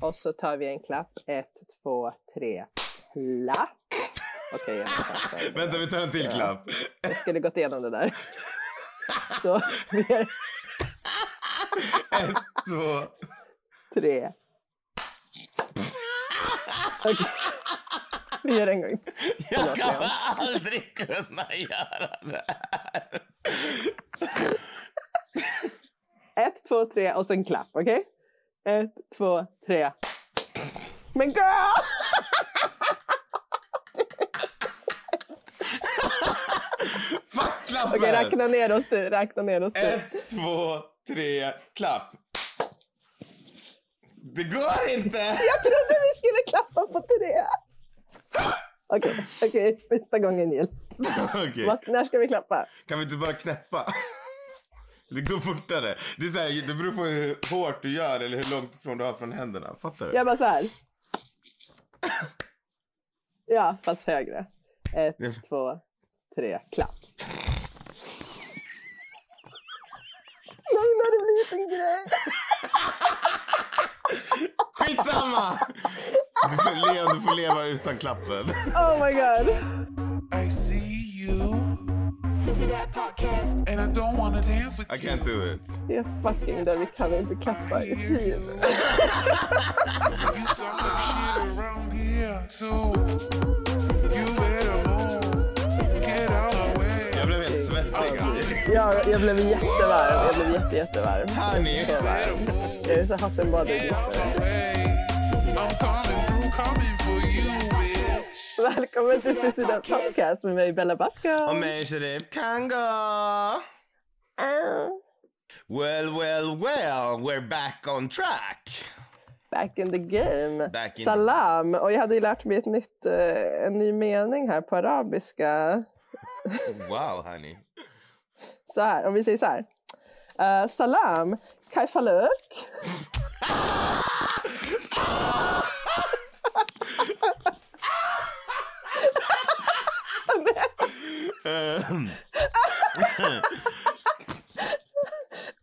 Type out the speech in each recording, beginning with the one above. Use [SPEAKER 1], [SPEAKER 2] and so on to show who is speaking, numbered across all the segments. [SPEAKER 1] Och så tar vi en klapp. Ett, två, tre. Klapp. Okej, jag fattar.
[SPEAKER 2] Vänta, vi tar en till klapp.
[SPEAKER 1] jag skulle gått igenom det där. Så, vi är
[SPEAKER 2] Ett, två.
[SPEAKER 1] tre. Okej. Vi gör en gång.
[SPEAKER 3] Jag
[SPEAKER 1] Förlåt,
[SPEAKER 3] kommer
[SPEAKER 1] Leon.
[SPEAKER 3] aldrig kunna göra det här.
[SPEAKER 1] Ett, två, tre och så en klapp, okej? Ett, två, tre. Men girl!
[SPEAKER 2] Fuck klappen!
[SPEAKER 1] Okej, räkna ner oss du. Räkna ner oss du.
[SPEAKER 2] Ett, två, tre, klapp. Det går inte!
[SPEAKER 1] Jag trodde vi skulle klappa på tre. Okej, okej. Sista gången gillt.
[SPEAKER 2] Okej.
[SPEAKER 1] Vad- När ska vi klappa?
[SPEAKER 2] Kan vi inte bara knäppa? Det går fortare. Det, är så här, det beror på hur hårt du gör eller hur långt ifrån du har från händerna. Fattar du?
[SPEAKER 1] Jag bara så här. Ja, fast högre. Ett,
[SPEAKER 2] Ja.
[SPEAKER 1] två, tre, klapp. Nej, när det blivit en grej.
[SPEAKER 2] Skitsamma! Du får, le, du får leva utan klappen.
[SPEAKER 1] Oh my god.
[SPEAKER 4] I see you,
[SPEAKER 5] Sissy that podcast.
[SPEAKER 4] and I don't wanna dance with
[SPEAKER 2] I can't do it.
[SPEAKER 1] Det är fucking där vi kan inte klappa i tid.
[SPEAKER 4] you. You sound like shit around here, so you better move. Get out of the way.
[SPEAKER 2] Jag blev helt svettig. alltså.
[SPEAKER 1] Jag, jag blev jättevarm. Jag blev jätte, jättevarm.
[SPEAKER 2] Hörni.
[SPEAKER 1] Så varm. Jag är så hatten badar
[SPEAKER 4] Get
[SPEAKER 1] just
[SPEAKER 4] out
[SPEAKER 1] nu.
[SPEAKER 4] the way. I'm coming through, coming for you, bitch.
[SPEAKER 1] Välkommen till Sissi Död Podcast med mig Bella Basco.
[SPEAKER 2] Och mig Sharif Kanga. Well, well, well, we're back on track.
[SPEAKER 1] Back in the game.
[SPEAKER 2] Back in-
[SPEAKER 1] Salam. Och jag hade ju lärt mig ett nytt, eh, en ny mening här på arabiska.
[SPEAKER 2] Wow, honey.
[SPEAKER 1] Så här, om vi säger så här. Eh, salam. Kajfaluk.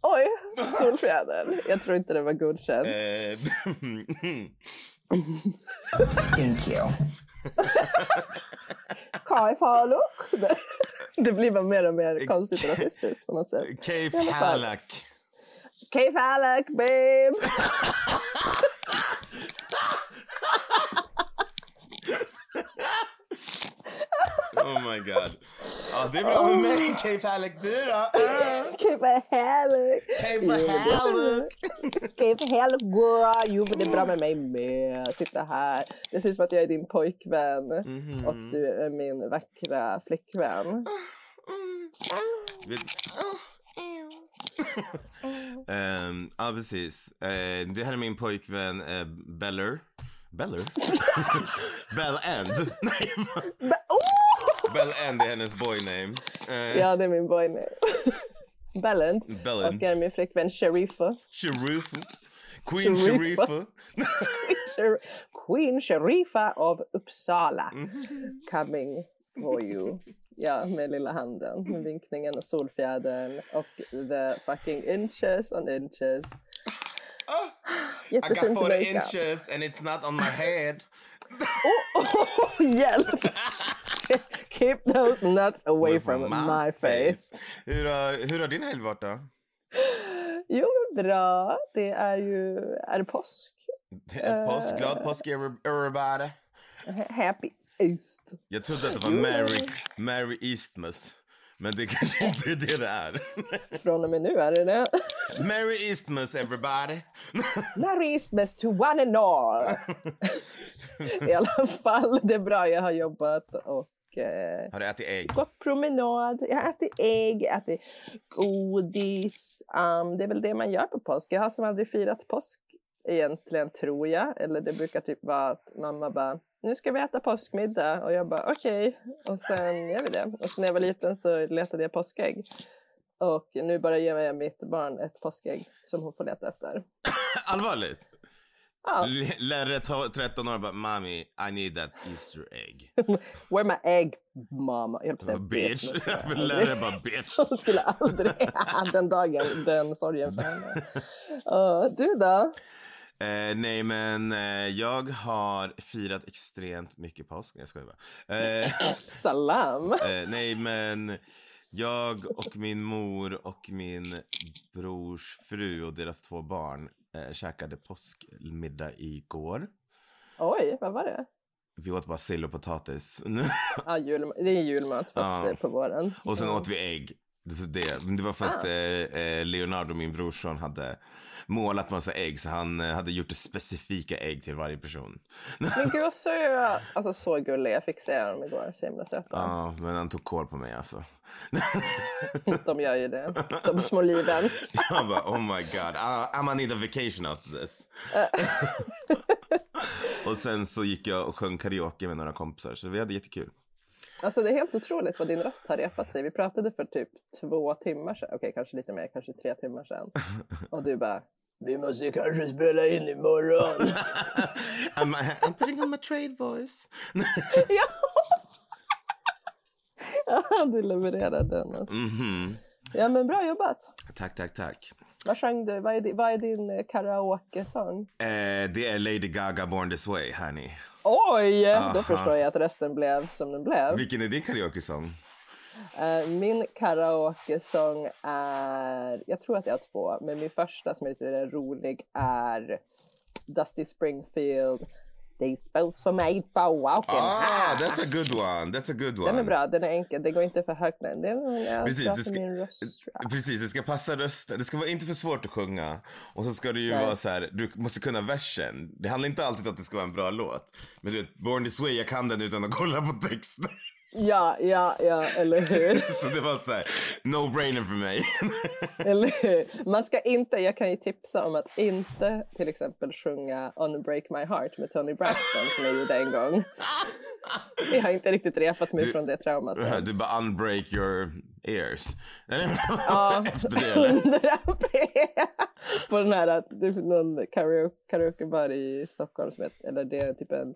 [SPEAKER 1] Oj, solfjäder. Jag tror inte det var godkänt.
[SPEAKER 2] Eh, Um,
[SPEAKER 1] Kajfaluk. Det blir bara mer och mer konstigt och rasistiskt på något sätt.
[SPEAKER 2] Cave
[SPEAKER 1] alla fall.
[SPEAKER 2] Halak.
[SPEAKER 1] Kajfaluk, babe.
[SPEAKER 2] Oh my god. Ja, det är bra med mig, Cave Halak. Du då? Eh,
[SPEAKER 1] Kajfaluk.
[SPEAKER 2] Cave Halak.
[SPEAKER 1] Okej, för helgoa. Jo, men det är bra med mig med. Sitta här. Det ser ut som att jag är din pojkvän
[SPEAKER 2] Mhm.
[SPEAKER 1] och du är min vackra flickvän.
[SPEAKER 2] Oh! Ehm, Ja, precis. Eh, det här är min pojkvän eh, Beller. Beller? Bell End. Nej,
[SPEAKER 1] Ba- oh!
[SPEAKER 2] Bell End är hennes boyname. Eh,
[SPEAKER 1] Ja, det är min boy nu. Bellend.
[SPEAKER 2] Bell
[SPEAKER 1] Och
[SPEAKER 2] End.
[SPEAKER 1] är min flickvän Sharifa.
[SPEAKER 2] Sharifa. Queen
[SPEAKER 1] Sharifa.
[SPEAKER 2] Sharifa.
[SPEAKER 1] Shar- Queen Sharifa av Uppsala.
[SPEAKER 2] Mhm.
[SPEAKER 1] Coming for you. Ja, med lilla handen, med vinkningen och solfjädern och the fucking inches on inches.
[SPEAKER 2] Ah! I got
[SPEAKER 1] Jättefint
[SPEAKER 2] 40
[SPEAKER 1] makeup.
[SPEAKER 2] inches and it's not on my head.
[SPEAKER 1] Oh, hjälp! Keep those nuts away from my face.
[SPEAKER 2] Hur har, hur har din helg varit då?
[SPEAKER 1] Jo, men bra. Det är ju... Är det påsk?
[SPEAKER 2] Det
[SPEAKER 1] Eh.
[SPEAKER 2] är Påsk, glad påsk everybody.
[SPEAKER 1] Happy East.
[SPEAKER 2] Jag trodde att det var Merry, Merry Eastmas. Men det kanske inte är det det är.
[SPEAKER 1] Från och med nu är det det.
[SPEAKER 2] Merry Eastmas everybody.
[SPEAKER 1] Merry Eastmas to one and all! I alla fall, det är bra. Jag har jobbat och... Eh,
[SPEAKER 2] Har du ätit ägg?
[SPEAKER 1] gått promenad, jag har ätit ägg, ätit godis. Um, det är väl det man gör på påsk. Jag har som aldrig firat påsk egentligen, tror jag. Eller det brukar typ vara att mamma bara, nu ska vi äta påskmiddag. Och jag bara, okej. Och sen gör vi det. Och sen när jag var liten så letade jag påskägg. Och nu bara ger jag mitt barn ett påskägg som hon får leta efter.
[SPEAKER 2] Allvarligt?
[SPEAKER 1] Ja,
[SPEAKER 2] L- Lärare to- 13 år bara, mommy, I need that Easter egg.
[SPEAKER 1] where my egg, mamma? Jag höll på att
[SPEAKER 2] Bara,
[SPEAKER 1] säga
[SPEAKER 2] bitch.
[SPEAKER 1] men-
[SPEAKER 2] Lärare bara, bitch.
[SPEAKER 1] Hon skulle aldrig... den dagen, den sorgen för henne. Ja, du Eh, då?
[SPEAKER 2] Eh, nej, men eh, jag har firat extremt mycket påsk. Nej, jag skojar bara. Eh,
[SPEAKER 1] Salam!
[SPEAKER 2] Eh, nej, men jag och min mor och min brors fru och deras två barn eh, käkade påskmiddag igår.
[SPEAKER 1] Oj, vad var det?
[SPEAKER 2] Vi åt bara sill och potatis.
[SPEAKER 1] Ja, julma- det är julmat fast
[SPEAKER 2] Ja.
[SPEAKER 1] det är på våren.
[SPEAKER 2] och sen
[SPEAKER 1] Ja.
[SPEAKER 2] åt vi ägg. Det- Det, men det var för att
[SPEAKER 1] Ah.
[SPEAKER 2] eh, eh, Leonardo, min brorson, hade målat massa ägg. Så han eh, hade gjort specifika ägg till varje person.
[SPEAKER 1] Men gud vad söta! Alltså så gulliga. Jag fick se dem igår. Så himla söta.
[SPEAKER 2] Ja, men han tog koll på mig alltså.
[SPEAKER 1] De gör ju det. De små liven.
[SPEAKER 2] Jag bara, oh my god, I- I'm gonna need a vacation after this. och sen så gick jag och sjöng karaoke med några kompisar, så vi hade jättekul.
[SPEAKER 1] Alltså det är helt otroligt vad din röst har repat sig. Vi pratade för typ två timmar sedan. Okej, kanske lite mer. Kanske tre timmar sedan. Och du bara. Vi måste ju kanske spela in imorgon.
[SPEAKER 2] I'm, I'm putting on my trade voice.
[SPEAKER 1] ja. ja, du levererar den. Alltså.
[SPEAKER 2] Mhm.
[SPEAKER 1] Ja, men bra jobbat.
[SPEAKER 2] Tack, tack, tack.
[SPEAKER 1] Vad sjöng du? Vad är din, vad är din eh, karaoke-sång?
[SPEAKER 2] Eh, det är Lady Gaga Born This Way, hörni.
[SPEAKER 1] Oj!
[SPEAKER 2] Aha.
[SPEAKER 1] Då förstår jag att rösten blev som den blev.
[SPEAKER 2] Vilken är din karaoke-sång?
[SPEAKER 1] Eh, Min karaoke-sång är... Jag tror att jag har två, men min första som är lite rolig är Dusty Springfield. These boots were made for walking.
[SPEAKER 2] Ah, that's a good one. That's a good one.
[SPEAKER 1] Den är bra, den är enkel. Det går inte för högt. Nej. Det är
[SPEAKER 2] Precis,
[SPEAKER 1] bra
[SPEAKER 2] det
[SPEAKER 1] för
[SPEAKER 2] ska-
[SPEAKER 1] min röst. tror jag.
[SPEAKER 2] Precis, det ska passa rösten. Det ska vara inte för svårt att sjunga. Och så ska det ju
[SPEAKER 1] Nej.
[SPEAKER 2] vara så här, du måste kunna versen. Det handlar inte alltid om att det ska vara en bra låt. Men du vet, Born This Way, jag kan den utan att kolla på texten.
[SPEAKER 1] Ja, ja, ja, eller hur?
[SPEAKER 2] Så det var så här, no-brainer för mig.
[SPEAKER 1] Eller hur? Man ska inte, jag kan ju tipsa om att inte till exempel sjunga Unbreak My Heart med Tony Braxton som jag gjorde en gång. Jag har inte riktigt repat mig
[SPEAKER 2] Du-
[SPEAKER 1] från det traumat. än.
[SPEAKER 2] Du bara unbreak your ears. Eller,
[SPEAKER 1] Ja,
[SPEAKER 2] Efter det eller?
[SPEAKER 1] 100 p. På den här, det finns någon karaoke, karaokebar i Stockholm som heter, eller det är typ en,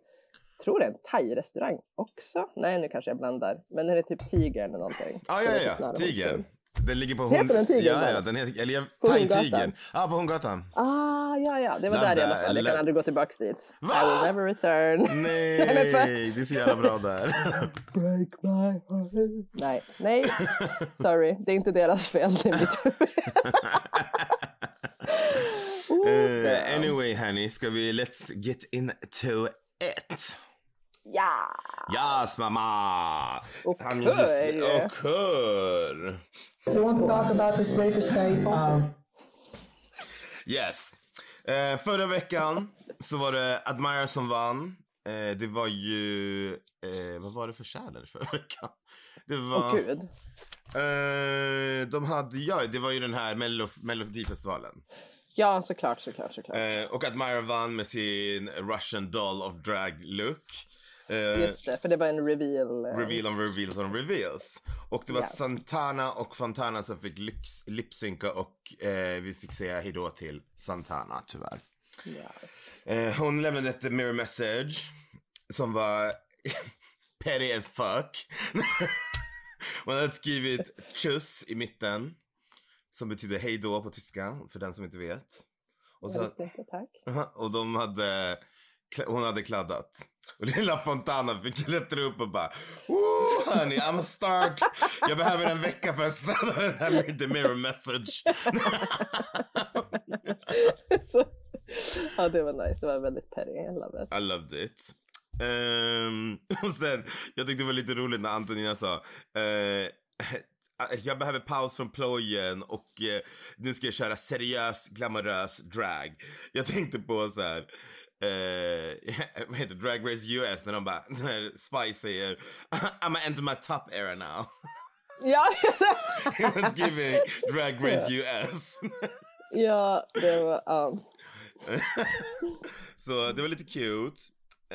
[SPEAKER 1] tror det är en thai-restaurang också. Nej, nu kanske jag blandar. Men den är typ Tiger eller någonting.
[SPEAKER 2] Ja,
[SPEAKER 1] Den är
[SPEAKER 2] ja,
[SPEAKER 1] typ nära
[SPEAKER 2] ja.
[SPEAKER 1] vår
[SPEAKER 2] Tigern.
[SPEAKER 1] stol.
[SPEAKER 2] Den ligger på
[SPEAKER 1] Heter den Tigern
[SPEAKER 2] Ja,
[SPEAKER 1] bara?
[SPEAKER 2] ja, den heter, eller jag,
[SPEAKER 1] På
[SPEAKER 2] Thai-tigern.
[SPEAKER 1] Horngatan?
[SPEAKER 2] Ja, ah, på Horngatan.
[SPEAKER 1] Ah, ja, ja, det var
[SPEAKER 2] Ladda,
[SPEAKER 1] där i alla fall. Jag kan
[SPEAKER 2] la-
[SPEAKER 1] aldrig gå tillbaka dit.
[SPEAKER 2] Va?
[SPEAKER 1] I will never return.
[SPEAKER 2] Nej,
[SPEAKER 1] Nej, men för-
[SPEAKER 2] det är så jävla bra där.
[SPEAKER 1] Break my heart. Nej, nej, sorry. Det är inte deras fel. Det är mitt fel. Oh,
[SPEAKER 2] Eh,
[SPEAKER 1] damn.
[SPEAKER 2] anyway, honey, ska vi let's get into it.
[SPEAKER 1] Ja.
[SPEAKER 2] Yes, mamma!
[SPEAKER 1] Och
[SPEAKER 2] Han
[SPEAKER 1] kurr.
[SPEAKER 2] Och kurr!
[SPEAKER 6] You want to talk about this latest iPhone?
[SPEAKER 2] Um, Yes. Eh, förra veckan så var det Admire som vann. Eh, det var ju... Eh, vad var det för challenge förra veckan? Det var...
[SPEAKER 1] Åh gud.
[SPEAKER 2] eh, de hade... Ja, det var ju den här Mellof- Melodifestivalen.
[SPEAKER 1] Ja, såklart, såklart, såklart.
[SPEAKER 2] Eh, och Admire vann med sin Russian doll of drag look. Eh,
[SPEAKER 1] Just det, för det var en reveal. eh,
[SPEAKER 2] reveal on reveals on reveals. Och det var
[SPEAKER 1] Ja.
[SPEAKER 2] Santana och Fontana som fick lyx- lipsynka och eh, vi fick säga hejdå till Santana tyvärr.
[SPEAKER 1] Ja.
[SPEAKER 2] Eh, hon lämnade ett mirror message som var petty as fuck. hon hade skrivit tjus i mitten som betyder hejdå på tyska för den som inte vet. Och,
[SPEAKER 1] Jag
[SPEAKER 2] så,
[SPEAKER 1] visste inte, tack.
[SPEAKER 2] och de hade, hon hade kladdat. Och lilla Fontana fick klättra upp och bara Woo, honey, I'm a start. Jag behöver en vecka för att städa den här the mirror message.
[SPEAKER 1] Så- ja, det var nice. Det var väldigt petty. I love it.
[SPEAKER 2] I loved it. Ehm, och sen, jag tyckte det var lite roligt när Antonina sa eh, jag behöver paus från plojen och eh, nu ska jag köra seriös, glamorös drag. Jag tänkte på så här, eh, vad heter det? Drag Race US när de bara, när Spice säger I'm gonna enter my top era now.
[SPEAKER 1] Ja,
[SPEAKER 2] It was giving Drag Race US.
[SPEAKER 1] ja det var... um, Ja.
[SPEAKER 2] Så det var lite cute.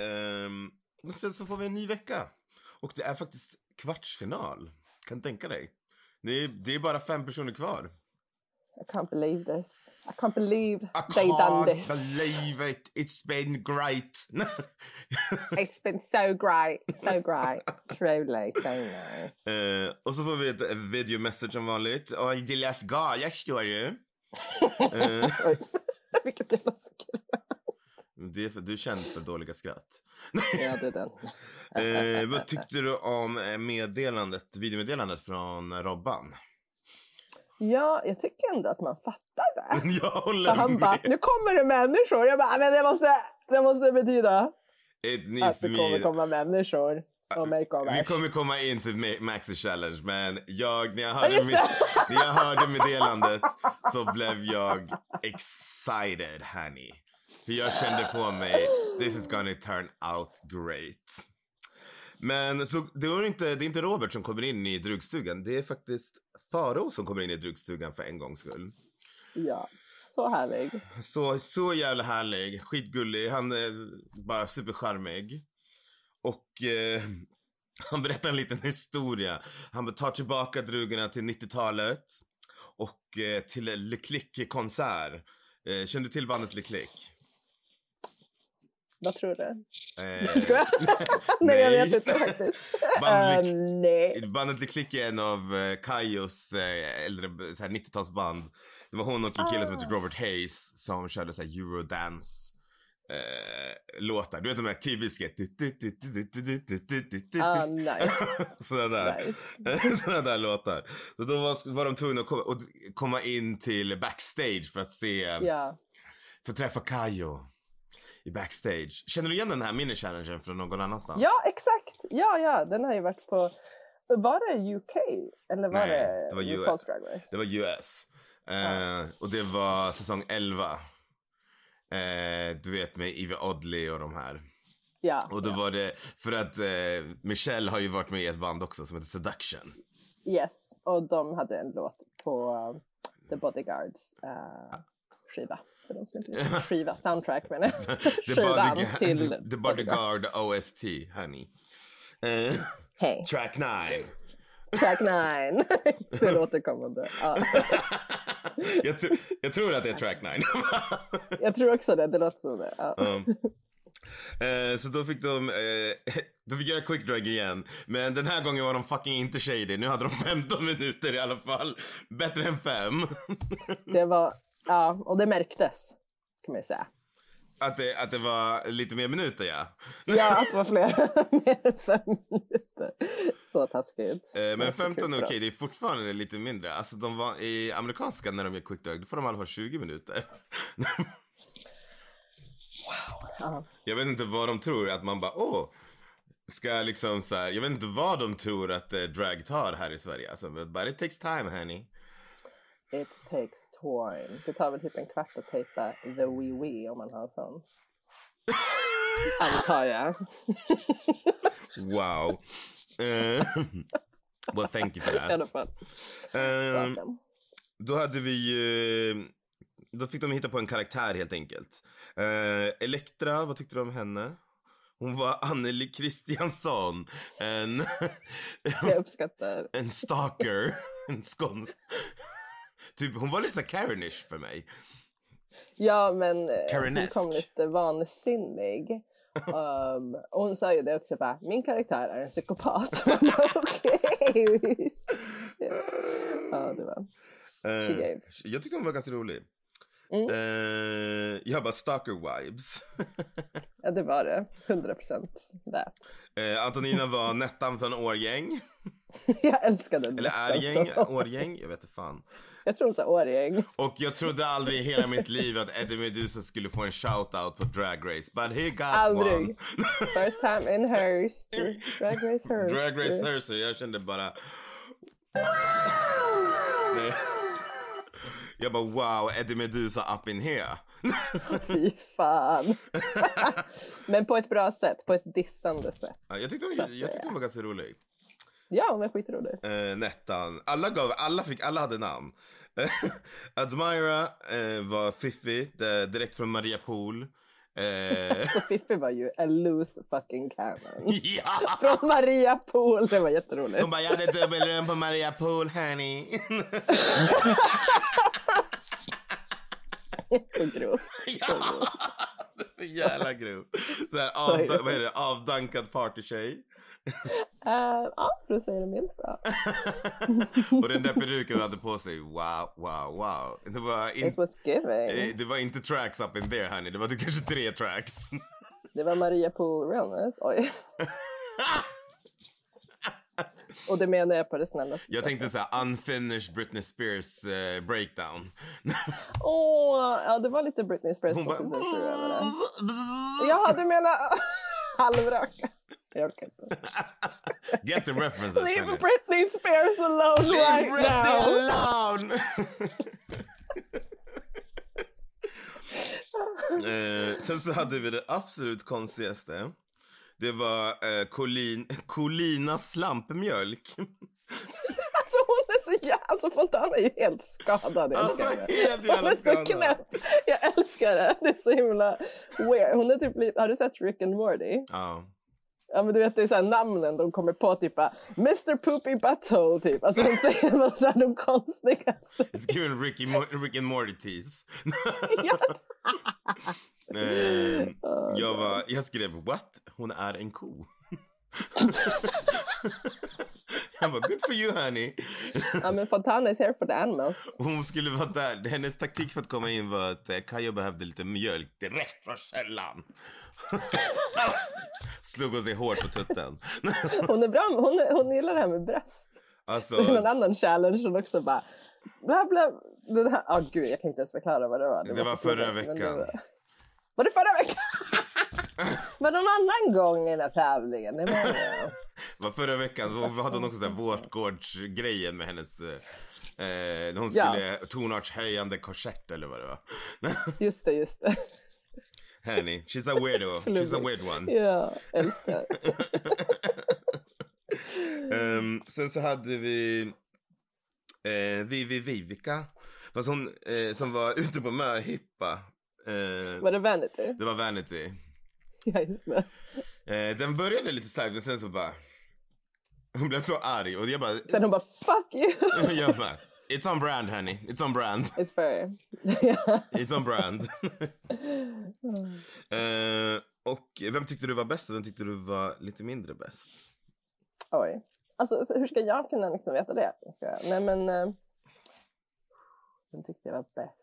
[SPEAKER 2] Ehm, och sen så får vi en ny vecka. Och det är faktiskt kvartsfinal. Kan du tänka dig. Det är, det är bara fem personer kvar.
[SPEAKER 1] I can't believe this. I can't believe
[SPEAKER 2] I
[SPEAKER 1] they
[SPEAKER 2] can't
[SPEAKER 1] done this.
[SPEAKER 2] believe it. It's been great.
[SPEAKER 1] It's been so great. So great. Truly. So nice.
[SPEAKER 2] Eh, och så får vi ett videomessage som vanligt. Och det lät galet, står det. Eh,
[SPEAKER 1] Oj, Vilket jävla skräp.
[SPEAKER 2] det är för, du är känd för dåliga skratt.
[SPEAKER 1] Ja, det är den.
[SPEAKER 2] Eh, vad tyckte du om eh, meddelandet, videomeddelandet från Robban?
[SPEAKER 1] Ja, jag tycker ändå att man fattar det.
[SPEAKER 2] Jag håller
[SPEAKER 1] För han
[SPEAKER 2] med.
[SPEAKER 1] bara, nu kommer det människor. Jag bara, men det måste, det måste betyda
[SPEAKER 2] It
[SPEAKER 1] att
[SPEAKER 2] needs to
[SPEAKER 1] Alltså, det kommer
[SPEAKER 2] be...
[SPEAKER 1] komma människor och
[SPEAKER 2] Ah, Vi
[SPEAKER 1] makeover.
[SPEAKER 2] kommer komma in till Ma- Maxi Challenge men jag, när, jag
[SPEAKER 1] Ja,
[SPEAKER 2] hörde
[SPEAKER 1] just
[SPEAKER 2] med,
[SPEAKER 1] det.
[SPEAKER 2] när jag hörde meddelandet så blev jag excited honey. För jag kände på mig, this is gonna turn out great. Men så det är inte, det är inte Robert som kommer in i drugstugan, det är faktiskt Faro som kommer in i drugstugan för en gångs skull.
[SPEAKER 1] Ja, så härlig.
[SPEAKER 2] Så, så jävla härlig, skitgullig. Han är bara supercharmig. Och eh, han berättar en liten historia. Han bara tar tillbaka drugorna till 90-talet och eh, till Le Clique-konsert. Eh, känner du till bandet Le Clique?
[SPEAKER 1] Vad tror du?
[SPEAKER 2] Eh,
[SPEAKER 1] Ska jag? Nej, jag vet inte faktiskt.
[SPEAKER 2] Band
[SPEAKER 1] Eh,
[SPEAKER 2] Le-
[SPEAKER 1] nej.
[SPEAKER 2] Bandet Le Clique är en av eh, Kaios eh, äldre så här 90-talsband. Det var hon och en kille som
[SPEAKER 1] Ah.
[SPEAKER 2] heter Robert Hayes som körde så här eurodance eh, låtar. Du vet de där typiska...
[SPEAKER 1] Ah, nice,
[SPEAKER 2] Sådana där.
[SPEAKER 1] nice.
[SPEAKER 2] Såna där låtar. Så då var, var de tvungna att komma, och komma in till backstage för att se,
[SPEAKER 1] Ja.
[SPEAKER 2] för att träffa Kayo i backstage. Känner du igen den här mini-challengen från någon annanstans?
[SPEAKER 1] ja, exakt. Ja, ja, den har ju varit på... Var det UK? Eller var
[SPEAKER 2] Nej,
[SPEAKER 1] det,
[SPEAKER 2] det var US.
[SPEAKER 1] RuPaul's Drag Race?
[SPEAKER 2] Det var US. Eh, Och det var säsong 11. Eh, du vet med Eve Oddly och de här.
[SPEAKER 1] Ja,
[SPEAKER 2] Och då var det, för att eh, Michelle har ju varit med i ett band också som heter Seduction.
[SPEAKER 1] yes. Och de hade en låt på eh, The Bodyguards eh, skiva. För de som inte vet. Skiva, soundtrack menar jag.
[SPEAKER 2] The,
[SPEAKER 1] Skivan
[SPEAKER 2] Bodyguard-
[SPEAKER 1] till
[SPEAKER 2] the, the Bodyguard OST, honey. Eh,
[SPEAKER 1] Hej,
[SPEAKER 2] track 9.
[SPEAKER 1] track 9. det låter kommande. Ja,
[SPEAKER 2] jag, tr- jag tror att det är track 9.
[SPEAKER 1] jag tror också det, det låter som det. Ja.
[SPEAKER 2] Um, Eh, så då fick de, eh, då fick jag göra quick drag igen. Men den här gången var de fucking inte shady. Nu hade de 15 minuter i alla fall. Bättre än fem.
[SPEAKER 1] Det var, ja, och det märktes kan man ju säga.
[SPEAKER 2] att, det, att det var lite mer minuter ja.
[SPEAKER 1] Ja, att det var fler mer än fem minuter. Så taskigt.
[SPEAKER 2] Eh,
[SPEAKER 1] Det var
[SPEAKER 2] men
[SPEAKER 1] så kul
[SPEAKER 2] 15 är
[SPEAKER 1] för
[SPEAKER 2] okej,
[SPEAKER 1] oss.
[SPEAKER 2] det är fortfarande lite mindre. Alltså de var i amerikanska när de gör quick drag, då får de i alla fall 20 minuter.
[SPEAKER 1] Ja.
[SPEAKER 2] Jag vet inte vad de tror att man bara åh. Ska liksom så här, jag vet inte vad de tror att eh, drag tar här i Sverige. Alltså, but it takes time honey.
[SPEAKER 1] It takes time. Det tar väl typ en kvart att tejpa the wee wee om man har en sån. Antar jag.
[SPEAKER 2] Wow. Eh, well, thank you for
[SPEAKER 1] I alla
[SPEAKER 2] that.
[SPEAKER 1] fall.
[SPEAKER 2] Eh,
[SPEAKER 1] Welcome.
[SPEAKER 2] då hade vi eh, Då fick de hitta på en karaktär helt enkelt. Eh, Elektra, vad tyckte du om henne? Hon var Anneli Kristiansson. En,
[SPEAKER 1] Jag uppskattar.
[SPEAKER 2] en stalker. En skån... Typ, hon var lite så här Karenish för mig.
[SPEAKER 1] Ja, men eh, hon
[SPEAKER 2] Karenesk.
[SPEAKER 1] kom lite vansinnig. Um, och hon sa ju det också, bara, min karaktär är en psykopat. Man bara, Okej, visst. Ja, det var.
[SPEAKER 2] Eh,
[SPEAKER 1] She gave.
[SPEAKER 2] jag tyckte hon var ganska rolig.
[SPEAKER 1] Mm.
[SPEAKER 2] Eh, jag bara stalker vibes.
[SPEAKER 1] Ja, det var det. 100 procent det.
[SPEAKER 2] Eh, Antonina var Nettan från Årgäng.
[SPEAKER 1] Jag älskade det.
[SPEAKER 2] Eller Ärgäng, Årgäng, jag vet inte fan.
[SPEAKER 1] Jag tror hon sa Årgäng.
[SPEAKER 2] Och jag trodde aldrig i hela mitt liv att Eddie Meduza skulle få en shout-out på Drag Race, but he got one.
[SPEAKER 1] Aldrig. First time in hers. Drag Race hers.
[SPEAKER 2] Drag Race Hersey, jag kände bara... Nej. Jag bara wow, Eddie Meduza up in here.
[SPEAKER 1] Fy fan. Men på ett bra sätt. På ett dissande sätt.
[SPEAKER 2] Ja, Jag tyckte hon,
[SPEAKER 1] Så att
[SPEAKER 2] jag tyckte hon var ganska rolig.
[SPEAKER 1] Ja, hon är skitrolig.
[SPEAKER 2] Eh, Nettan. Alla gav, alla fick, alla hade namn. Admira eh, var fiffig, eh, direkt från Maria Pool. Eh,
[SPEAKER 1] Så Fiffi var ju a loose fucking cannon.
[SPEAKER 2] ja!
[SPEAKER 1] Från Maria Pool. Det var jätteroligt.
[SPEAKER 2] Hon bara, jag hade dubbelrum på Maria Pool, honey.
[SPEAKER 1] Så grovt. Så grovt.
[SPEAKER 2] Så jävla grov. Så här, avda- vad är det? Avdankad partytjej.
[SPEAKER 1] Eh, ja, för att säga det milt. Ja.
[SPEAKER 2] och den där peruken hon hade på sig, wow, wow, wow. Det var, in,
[SPEAKER 1] It was
[SPEAKER 2] eh,
[SPEAKER 1] giving.
[SPEAKER 2] det var inte tracks up in there honey, det var typ kanske tre tracks.
[SPEAKER 1] Det var Maria Pool Realness. Oj. Och det menar jag på det snälla
[SPEAKER 2] Jag tänkte såhär unfinished Britney Spears eh, breakdown.
[SPEAKER 1] Åh, ja det var lite Britney Spears
[SPEAKER 2] Hon bara...
[SPEAKER 1] 2007 över det. Jaha, du menar halvröka? Jag orkar inte.
[SPEAKER 2] Get the references
[SPEAKER 1] Leave
[SPEAKER 2] honey.
[SPEAKER 1] Britney Spears alone
[SPEAKER 2] Leave
[SPEAKER 1] right
[SPEAKER 2] Britney
[SPEAKER 1] now!
[SPEAKER 2] alone! eh, sen så hade vi det absolut konstigaste. Det var eh, Colin, Colinas slampmjölk.
[SPEAKER 1] Alltså hon är så jävla... Alltså Fontana är ju helt skadad. jag
[SPEAKER 2] Alltså
[SPEAKER 1] älskar det.
[SPEAKER 2] helt
[SPEAKER 1] Hon
[SPEAKER 2] jävla
[SPEAKER 1] är så
[SPEAKER 2] skandal.
[SPEAKER 1] knäpp. Jag älskar det. Det är så himla weird. Hon är typ lite... Har du sett Rick and Morty?
[SPEAKER 2] Ja.
[SPEAKER 1] Ja men du vet det är så här namnen de kommer på typ bara, Mr Poopy Butthole typ. Alltså de säger bara så här de konstigaste.
[SPEAKER 2] It's given Ricky Mo- Rick and Morty tease. eh, jag, var, jag skrev what? Hon är en ko. jag bara good for you honey.
[SPEAKER 1] Ja men Fontana is here for the animals.
[SPEAKER 2] Hon skulle vara där. Hennes taktik för att komma in var att eh, Kaja behövde lite mjölk direkt från källan. Slog hon sig hårt på tutten.
[SPEAKER 1] Hon är bra, hon, hon gillar det här med bröst. Det är
[SPEAKER 2] Alltså,
[SPEAKER 1] en annan challenge som också bara bla bla. Den här, ah gud jag kan inte ens förklara vad det var.
[SPEAKER 2] Det var
[SPEAKER 1] så
[SPEAKER 2] förra
[SPEAKER 1] tråkigt, men det
[SPEAKER 2] veckan.
[SPEAKER 1] var- Var det förra veckan? Men någon annan gång i den här tävlingen. Det var det.
[SPEAKER 2] var förra veckan så hade hon också den här vårtgårdsgrejen med hennes... eh, Eh, när hon
[SPEAKER 1] Ja.
[SPEAKER 2] skulle tonartshöjande korsett eller vad det var.
[SPEAKER 1] Just det, just det.
[SPEAKER 2] Henny, she's a weirdo. She's a
[SPEAKER 1] Klubbig.
[SPEAKER 2] weird one.
[SPEAKER 1] Ja, älskar.
[SPEAKER 2] Ehm, sen så hade vi eh, Vivi Vivica. Fast hon eh, som var ute på möhippa. Eh,
[SPEAKER 1] Var det Vanity?
[SPEAKER 2] det var Vanity.
[SPEAKER 1] Ja, just det.
[SPEAKER 2] Eh, den började lite starkt men sen så bara... Hon blev så arg och jag bara...
[SPEAKER 1] Sen hon bara fuck you.
[SPEAKER 2] jag bara It's on brand honey, it's on brand,
[SPEAKER 1] It's fair. Ja.
[SPEAKER 2] it's on brand. eh, och vem tyckte du var bäst och vem tyckte du var lite mindre bäst?
[SPEAKER 1] Oj. Alltså hur ska jag kunna liksom veta det? Ska jag- Nej men. eh, Vem tyckte jag var bäst?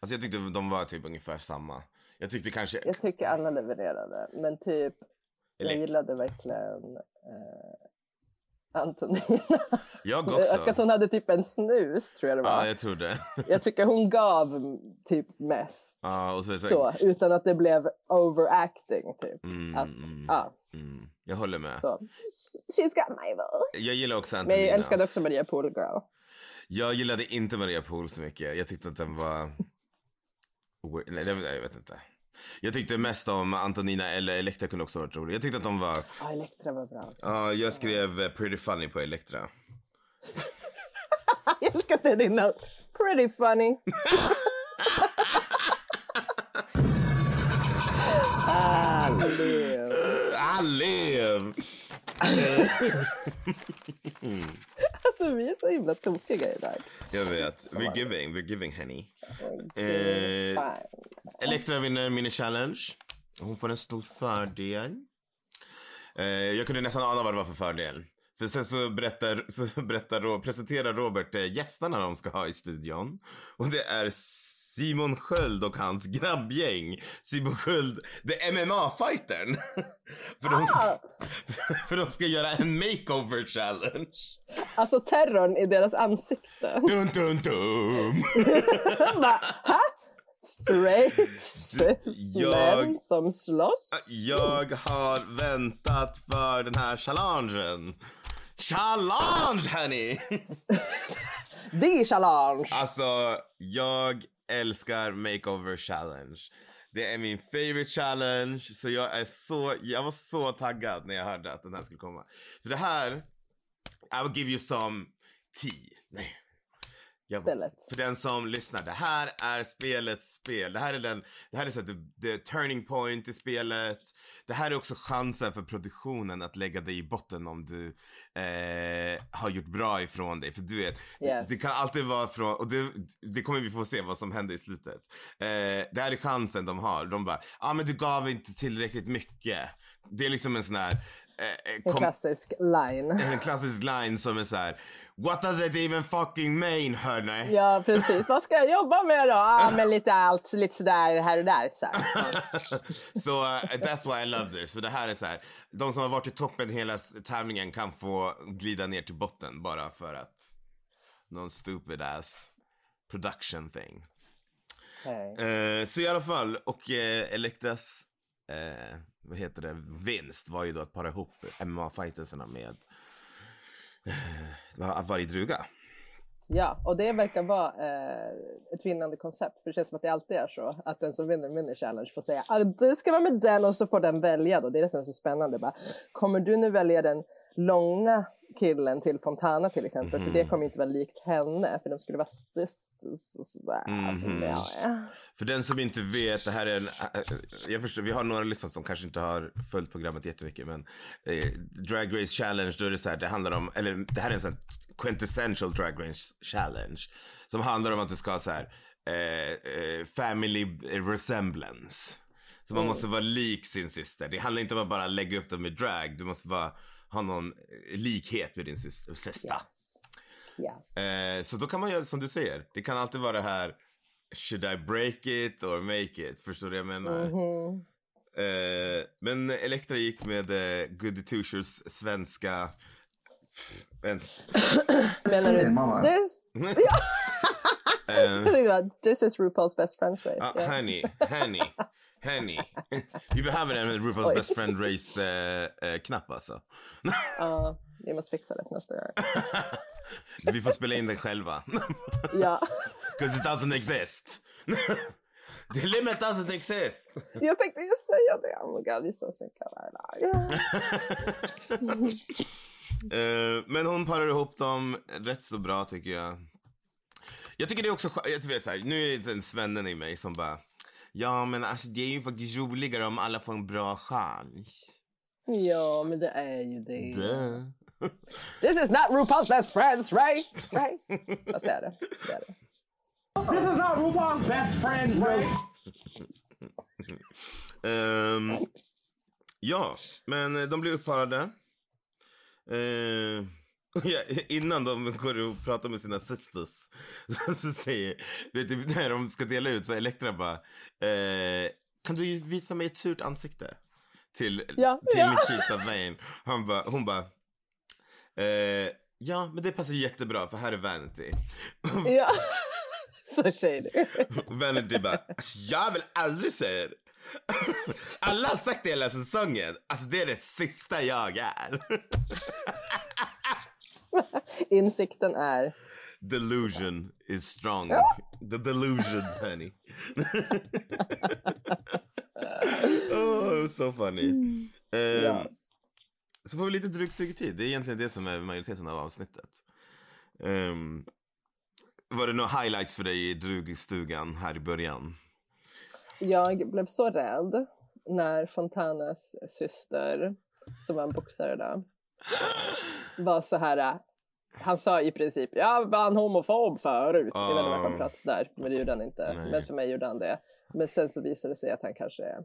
[SPEAKER 2] Alltså jag tyckte de var typ ungefär samma. Jag tyckte kanske...
[SPEAKER 1] Jag tycker alla levererade, men typ jag
[SPEAKER 2] Elek-
[SPEAKER 1] gillade verkligen eh, Antonina.
[SPEAKER 2] Jag
[SPEAKER 1] Och att
[SPEAKER 2] också.
[SPEAKER 1] hon hade typ en snus tror jag det var.
[SPEAKER 2] Ja,
[SPEAKER 1] jag...
[SPEAKER 2] jag tror det.
[SPEAKER 1] tycker hon gav typ mest.
[SPEAKER 2] Ja, och så är det så.
[SPEAKER 1] Så, utan att det blev overacting typ.
[SPEAKER 2] Mm,
[SPEAKER 1] Att,
[SPEAKER 2] mm,
[SPEAKER 1] ja,
[SPEAKER 2] mm. Jag håller med.
[SPEAKER 1] så. She's got my vote.
[SPEAKER 2] Jag gillar också
[SPEAKER 1] Men
[SPEAKER 2] Antonina.
[SPEAKER 1] jag älskade också Maria Poolgirl.
[SPEAKER 2] Jag gillade inte Maria Pool så mycket. Jag tyckte att den var... Weird. Nej, det- jag vet inte. Jag tyckte mest om Antonina eller Elektra kunde också ha varit rolig. Jag tyckte att de var...
[SPEAKER 1] Ja, Elektra var bra.
[SPEAKER 2] Ja, jag skrev eh, pretty funny på Elektra.
[SPEAKER 1] jag älskar att det är din note. Pretty funny. ah, Leo.
[SPEAKER 2] Ah, Allev!
[SPEAKER 1] Alltså vi är så himla tokiga idag.
[SPEAKER 2] Jag vet. We're giving, we're giving honey.
[SPEAKER 1] Mm,
[SPEAKER 2] Eh,
[SPEAKER 1] fan.
[SPEAKER 2] Elektra vinner mini challenge. Hon får en stor fördel. Eh, jag kunde nästan ana vad det var för fördel. För sen så berättar, så berättar Ro- presenterar Robert eh, gästerna de ska ha i studion. Och det är Simon Sköld och hans grabbgäng. Simon Sköld, det är MMA-fightern. för, de, för de ska göra en makeover challenge.
[SPEAKER 1] Alltså terrorn i deras ansikten.
[SPEAKER 2] Dun, dun, dun.
[SPEAKER 1] Han bara, ha? Straight
[SPEAKER 2] Eh, Jag- Ah,
[SPEAKER 1] cis-män som slåss?
[SPEAKER 2] Jag har väntat för den här challengen. Challenge hörni!
[SPEAKER 1] Det är challenge!
[SPEAKER 2] Alltså, jag älskar makeover challenge. Det är min favorite challenge, så jag är så, jag var så taggad när jag hörde att den här skulle komma. För det här, I will give you some tea. Nej. Jag,
[SPEAKER 1] Spelet.
[SPEAKER 2] För den som lyssnar, det här är spelets spel. Det här är den, det här är så att the, the turning point i spelet. Det här är också chansen för produktionen att lägga dig i botten om du eh, har gjort bra ifrån dig. För du vet,
[SPEAKER 1] Yes.
[SPEAKER 2] det kan alltid vara från, och det, det kommer vi få se vad som händer i slutet. Eh, det här är chansen de har. De bara, ja ah, men du gav inte tillräckligt mycket. Det är liksom en sån här, eh,
[SPEAKER 1] En
[SPEAKER 2] kom-
[SPEAKER 1] klassisk line.
[SPEAKER 2] en klassisk line som är så här. What does it even fucking mean hörni?
[SPEAKER 1] Ja, precis. Vad ska jag jobba med då? Ah, men lite allt, lite sådär här och där. Så här.
[SPEAKER 2] Så eh, that's why I love this. För det här är så här. De som har varit i toppen hela s- tävlingen kan få glida ner till botten bara för att någon stupid ass production thing.
[SPEAKER 1] Nej.
[SPEAKER 2] Eh, så i alla fall, och eh, Elektras, eh, vad heter det, vinst var ju då att para ihop MMA-fighterserna med eh, att vara i druga.
[SPEAKER 1] Ja, och det verkar vara eh, ett vinnande koncept. För det känns som att det alltid är så. Att den som vinner Mini Challenge får säga ah, du ska vara med den och så får den välja då. Det är det som är så spännande. Bara, kommer du nu välja den långa killen till Fontana till exempel? För
[SPEAKER 2] Mhm.
[SPEAKER 1] det kommer inte vara likt henne. För de skulle vara sist. Sådär.
[SPEAKER 2] Mhm.
[SPEAKER 1] Ja, ja.
[SPEAKER 2] För den som inte vet, det här är en... eh, eh, Jag förstår, vi har några lyssnare som kanske inte har följt programmet jättemycket men eh, Drag Race Challenge, då är det så här, det handlar om, eller det här är en sån här quintessential Drag Race Challenge som handlar om att du ska ha så här eh, eh, family resemblance. Så man måste vara lik sin syster. Det handlar inte om att bara lägga upp dem i drag, du måste bara ha någon eh, likhet med din sys- sista.
[SPEAKER 1] Yes.
[SPEAKER 2] Eh, så då kan man göra som du säger. Det kan alltid vara det här Should I break it or make it? Förstår du vad jag menar?
[SPEAKER 1] Mhm.
[SPEAKER 2] Eh, men Elektra gick med eh, Goody Two-Shoes svenska... Vänta.
[SPEAKER 1] Menar du-
[SPEAKER 6] mamma.
[SPEAKER 1] This,
[SPEAKER 2] Eh,
[SPEAKER 1] this is RuPaul's best friends race.
[SPEAKER 2] ah,
[SPEAKER 1] Ja.
[SPEAKER 2] honey, honey, honey. Vi behöver en RuPaul's
[SPEAKER 1] Oj.
[SPEAKER 2] Best Friend Race-knapp alltså.
[SPEAKER 1] Ja, vi måste fixa det till nästa gång.
[SPEAKER 2] Vi får spela in den själva.
[SPEAKER 1] Ja.
[SPEAKER 2] Because it doesn't exist. The limit doesn't exist.
[SPEAKER 1] Jag tänkte just säga det. Oh my god, vi är så synkade här.
[SPEAKER 2] Eh, men hon parar ihop dem rätt så bra tycker jag. Jag tycker det är också skö- jag vet så här, nu är det en svennen i mig som bara, ja men alltså det är ju faktiskt roligare om alla får en bra chans.
[SPEAKER 1] Ja, men det är ju det.
[SPEAKER 2] Duh.
[SPEAKER 1] This is not RuPaul's best friends, right? right? Fast det är det. det, är det.
[SPEAKER 2] Ehm, ja, men eh, de blir uppparade. Ehm, ja, innan de går och pratar med sina sisters så, så säger, vet du, när de ska dela ut så är Elektra bara, eh, kan du ju visa mig ett surt ansikte? Till,
[SPEAKER 1] Ja,
[SPEAKER 2] till
[SPEAKER 1] ja.
[SPEAKER 2] Nikita Vane. Han bara, hon bara, eh, ja men det passar jättebra för här är Vanity.
[SPEAKER 1] Ja. Så shady.
[SPEAKER 2] Och Vanity bara, alltså, jag vill aldrig säga det. Alla har sagt det hela säsongen. Alltså det är det sista jag är.
[SPEAKER 1] Insikten är...
[SPEAKER 2] Delusion is strong. The delusion honey. oh, it was so funny. Ehm,
[SPEAKER 1] Mm. Ja.
[SPEAKER 2] Så får vi lite drygt tid. Det är egentligen det som är majoriteten av avsnittet. Ehm, var det några highlights för dig i drugstugan här i början?
[SPEAKER 1] Jag blev så rädd när Fontanas syster, som var en boxare då, var så här... äh, Han sa i princip, jag var han homofob förut. Jag vet inte varför han
[SPEAKER 2] Ah.
[SPEAKER 1] pratade sådär, men det gjorde han inte.
[SPEAKER 2] Nej.
[SPEAKER 1] Men för mig gjorde han det. Men sen så visade det sig att han kanske är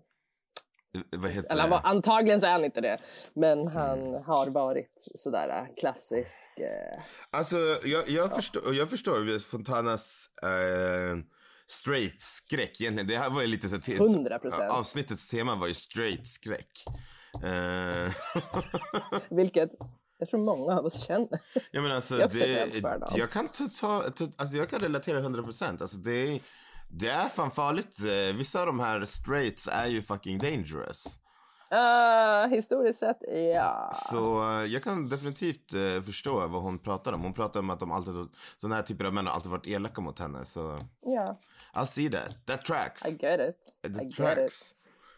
[SPEAKER 2] Eh, Vad heter
[SPEAKER 1] Eller han
[SPEAKER 2] det?
[SPEAKER 1] var, antagligen så är han inte det. Men
[SPEAKER 2] Mm.
[SPEAKER 1] han har varit sådär äh, klassisk. Eh,
[SPEAKER 2] Alltså, jag, jag, förstår, jag förstår Fontanas eh, straight-skräck egentligen. Det här var ju lite så här te-
[SPEAKER 1] 100%.
[SPEAKER 2] Avsnittets tema var ju straight-skräck. Eh,
[SPEAKER 1] vilket jag tror många av oss känner.
[SPEAKER 2] jag menar alltså,
[SPEAKER 1] Jag försöker
[SPEAKER 2] det,
[SPEAKER 1] jämföra dem.
[SPEAKER 2] jag kan ta, ta, ta, alltså jag kan relatera 100 procent. Alltså det, det är fan farligt. Eh, Vissa av de här straights är ju fucking dangerous.
[SPEAKER 1] Eh, historiskt sett, ja.
[SPEAKER 2] Så eh, jag kan definitivt eh, förstå vad hon pratar om. Hon pratar om att de alltid, sådana här typer av män har alltid varit elaka mot henne. Så
[SPEAKER 1] Ja,
[SPEAKER 2] I'll see that. That tracks.
[SPEAKER 1] I get it. I
[SPEAKER 2] The
[SPEAKER 1] get it.
[SPEAKER 2] tracks.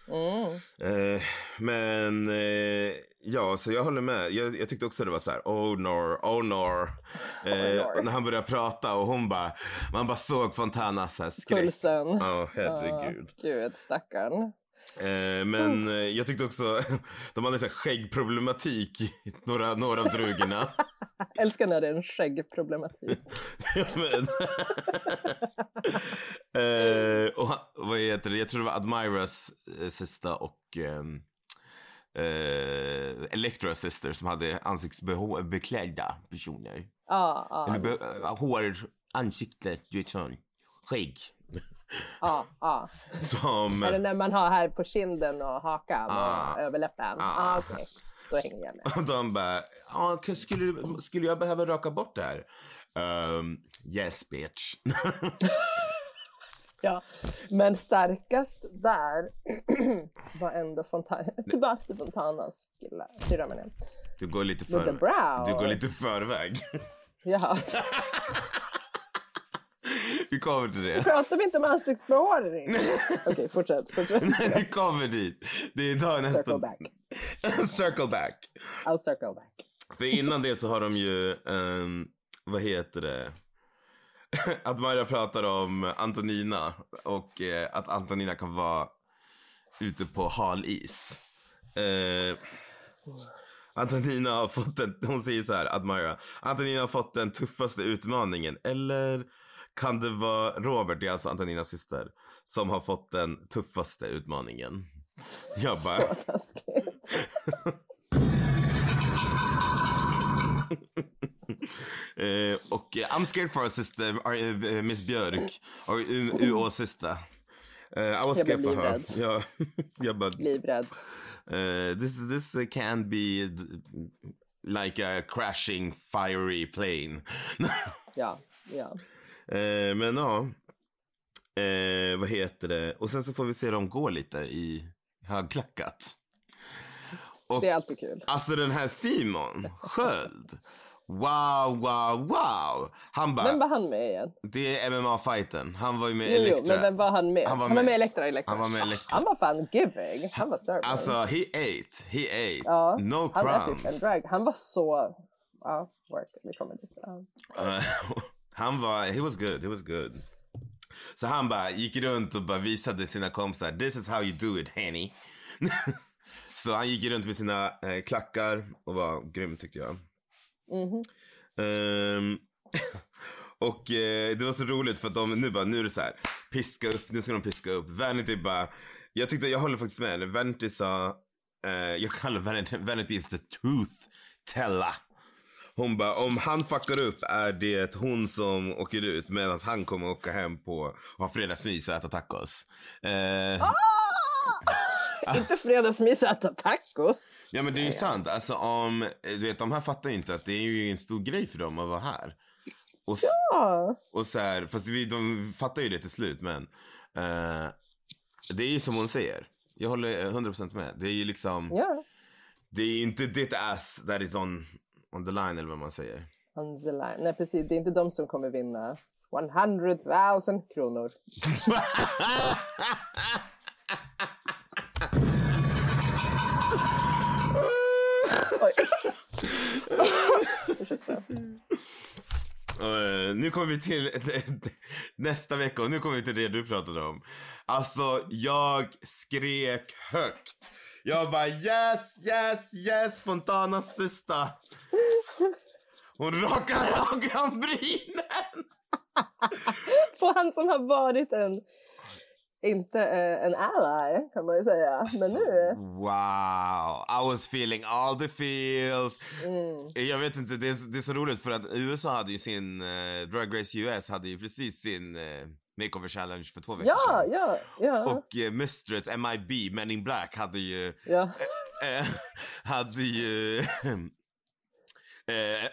[SPEAKER 1] Mm.
[SPEAKER 2] Eh, men eh, ja, så jag håller med. Jag, jag tyckte också det var så här, oh nor, oh nor. Eh,
[SPEAKER 1] nor.
[SPEAKER 2] och när han började prata och hon bara, man bara såg Fontanas så här skräck.
[SPEAKER 1] Pulsen.
[SPEAKER 2] Ja, herregud.
[SPEAKER 1] Ah, gud, stackarn.
[SPEAKER 2] Eh, men eh, jag tyckte också, de hade så här skäggproblematik, i några, några av drugorna.
[SPEAKER 1] Älskar när det är en skäggproblematik.
[SPEAKER 2] men, eh, och, han- vad heter det, jag tror det var Admiras eh, sista och ehm, eh, Electra Sister som hade ansiktsbeklädda personer.
[SPEAKER 1] Ja, ja,
[SPEAKER 2] Eller be- eh, hår, ansikte, du vet sån. Skägg.
[SPEAKER 1] ja, ja.
[SPEAKER 2] Som...
[SPEAKER 1] Är det ah, när man har här på kinden och hakan
[SPEAKER 2] Ah.
[SPEAKER 1] och överläppen?
[SPEAKER 2] Ah.
[SPEAKER 1] Ah, okej. Då hänger jag med.
[SPEAKER 2] Och eh, de bara, ah, k- skulle, du- skulle jag behöva raka bort det här? Ehm, yes bitch.
[SPEAKER 1] Ja. Men starkast där var ändå Fontana. Tillbaka till Fontanas lilla syrra menar jag.
[SPEAKER 2] Du går lite
[SPEAKER 1] With the
[SPEAKER 2] för...
[SPEAKER 1] brows.
[SPEAKER 2] Du går lite förväg.
[SPEAKER 1] Ja.
[SPEAKER 2] Vi kommer till det.
[SPEAKER 1] Pratar vi inte om ansiktsbehåring? Okej, fortsätt. fortsätt.
[SPEAKER 2] Vi kommer dit. Det är idag
[SPEAKER 1] Circle
[SPEAKER 2] nästan...
[SPEAKER 1] back.
[SPEAKER 2] Circle back.
[SPEAKER 1] I'll circle back.
[SPEAKER 2] För innan det så har de ju, ehm, vad heter det? Att Maja pratar om Antonina och eh, att Antonina kan vara ute på hal is. Eh, Antonina har fått en, hon säger så här, att Maja, Antonina har fått den tuffaste utmaningen. Eller kan det vara Robert, det är alltså Antoninas syster, som har fått den tuffaste utmaningen? Jag
[SPEAKER 1] Så
[SPEAKER 2] bara,
[SPEAKER 1] taskigt.
[SPEAKER 2] Eh, och eh, I'm scared for a sister, or, eh, eh, Miss Björk, or U- UO sister. Eh, I was
[SPEAKER 1] Jag
[SPEAKER 2] scared
[SPEAKER 1] blev
[SPEAKER 2] for her.
[SPEAKER 1] livrädd.
[SPEAKER 2] Ja, jag bara,
[SPEAKER 1] Livrädd.
[SPEAKER 2] eh, this, this eh, can be d- like a crashing fiery plane.
[SPEAKER 1] Ja. ja.
[SPEAKER 2] Eh, men ja, eh, vad heter det? Och sen så får vi se dem gå lite i högklackat.
[SPEAKER 1] Det är alltid kul.
[SPEAKER 2] Alltså den här Simon Sköld. Wow, wow, wow. Han bara,
[SPEAKER 1] Vem var han med igen?
[SPEAKER 2] det är MMA-fighten. Han var ju med i
[SPEAKER 1] Jo, jo,
[SPEAKER 2] Elektra.
[SPEAKER 1] men vem var han med?
[SPEAKER 2] Han
[SPEAKER 1] Han
[SPEAKER 2] var
[SPEAKER 1] var med,
[SPEAKER 2] med.
[SPEAKER 1] i Elektra. i Elektra.
[SPEAKER 2] Han var med i Elektra.
[SPEAKER 1] Han var fan giving. Han var servant.
[SPEAKER 2] Alltså, he ate. He ate.
[SPEAKER 1] ja.
[SPEAKER 2] No
[SPEAKER 1] han epic and
[SPEAKER 2] crumbs.
[SPEAKER 1] drag. Han var så... Ja, work. Vi kommer dit. Ja.
[SPEAKER 2] Eh, han var, he was good, he was good. Så han bara gick runt och bara visade sina kompisar, this is how you do it honey. så han gick runt med sina eh, klackar och var grym tyckte jag. Ehm, och eh, det var så roligt för att de nu bara, nu är det så här, piska upp, nu ska de piska upp. Vanity bara, jag tyckte, jag håller faktiskt med, Vanity sa, eh, jag kallar Vanity, Vanity is the truth teller. Hon bara, om han fuckar upp är det hon som åker ut medan han kommer åka hem på och ha fredagsmys och äta tacos. Eh,
[SPEAKER 1] Inte fredagsmys och äta tacos.
[SPEAKER 2] ja men det är ju sant. Alltså om, du vet de här fattar ju inte att det är ju en stor grej för dem att vara här. Och, s-
[SPEAKER 1] Ja.
[SPEAKER 2] och så här, fast vi, de fattar ju det till slut men. Eh, det är ju som hon säger. Jag håller 100% med. Det är ju liksom,
[SPEAKER 1] ja.
[SPEAKER 2] det är ju inte ditt ass that is on, on the line eller vad man säger.
[SPEAKER 1] On the line. Nej, precis. Det är inte de som kommer vinna 100 000 kronor. Oj.
[SPEAKER 2] Eh, nu kommer vi till nästa vecka och nu kommer vi till det du pratade om. Alltså, jag skrek högt. Jag bara yes, yes, yes, Fontanas sista. Hon rakar ögonbrynen.
[SPEAKER 1] För han som har varit en... Inte eh, en ally, kan man ju säga. Men nu...
[SPEAKER 2] Wow, I was feeling all the feels.
[SPEAKER 1] mm.
[SPEAKER 2] Jag vet inte, det är, det är så roligt för att USA hade ju sin, eh, Drag Race US hade ju precis sin eh, makeover challenge för två veckor
[SPEAKER 1] Ja,
[SPEAKER 2] sedan.
[SPEAKER 1] ja, ja.
[SPEAKER 2] Och eh, Mistress MIB, Men in Black, hade ju,
[SPEAKER 1] ja.
[SPEAKER 2] eh, hade ju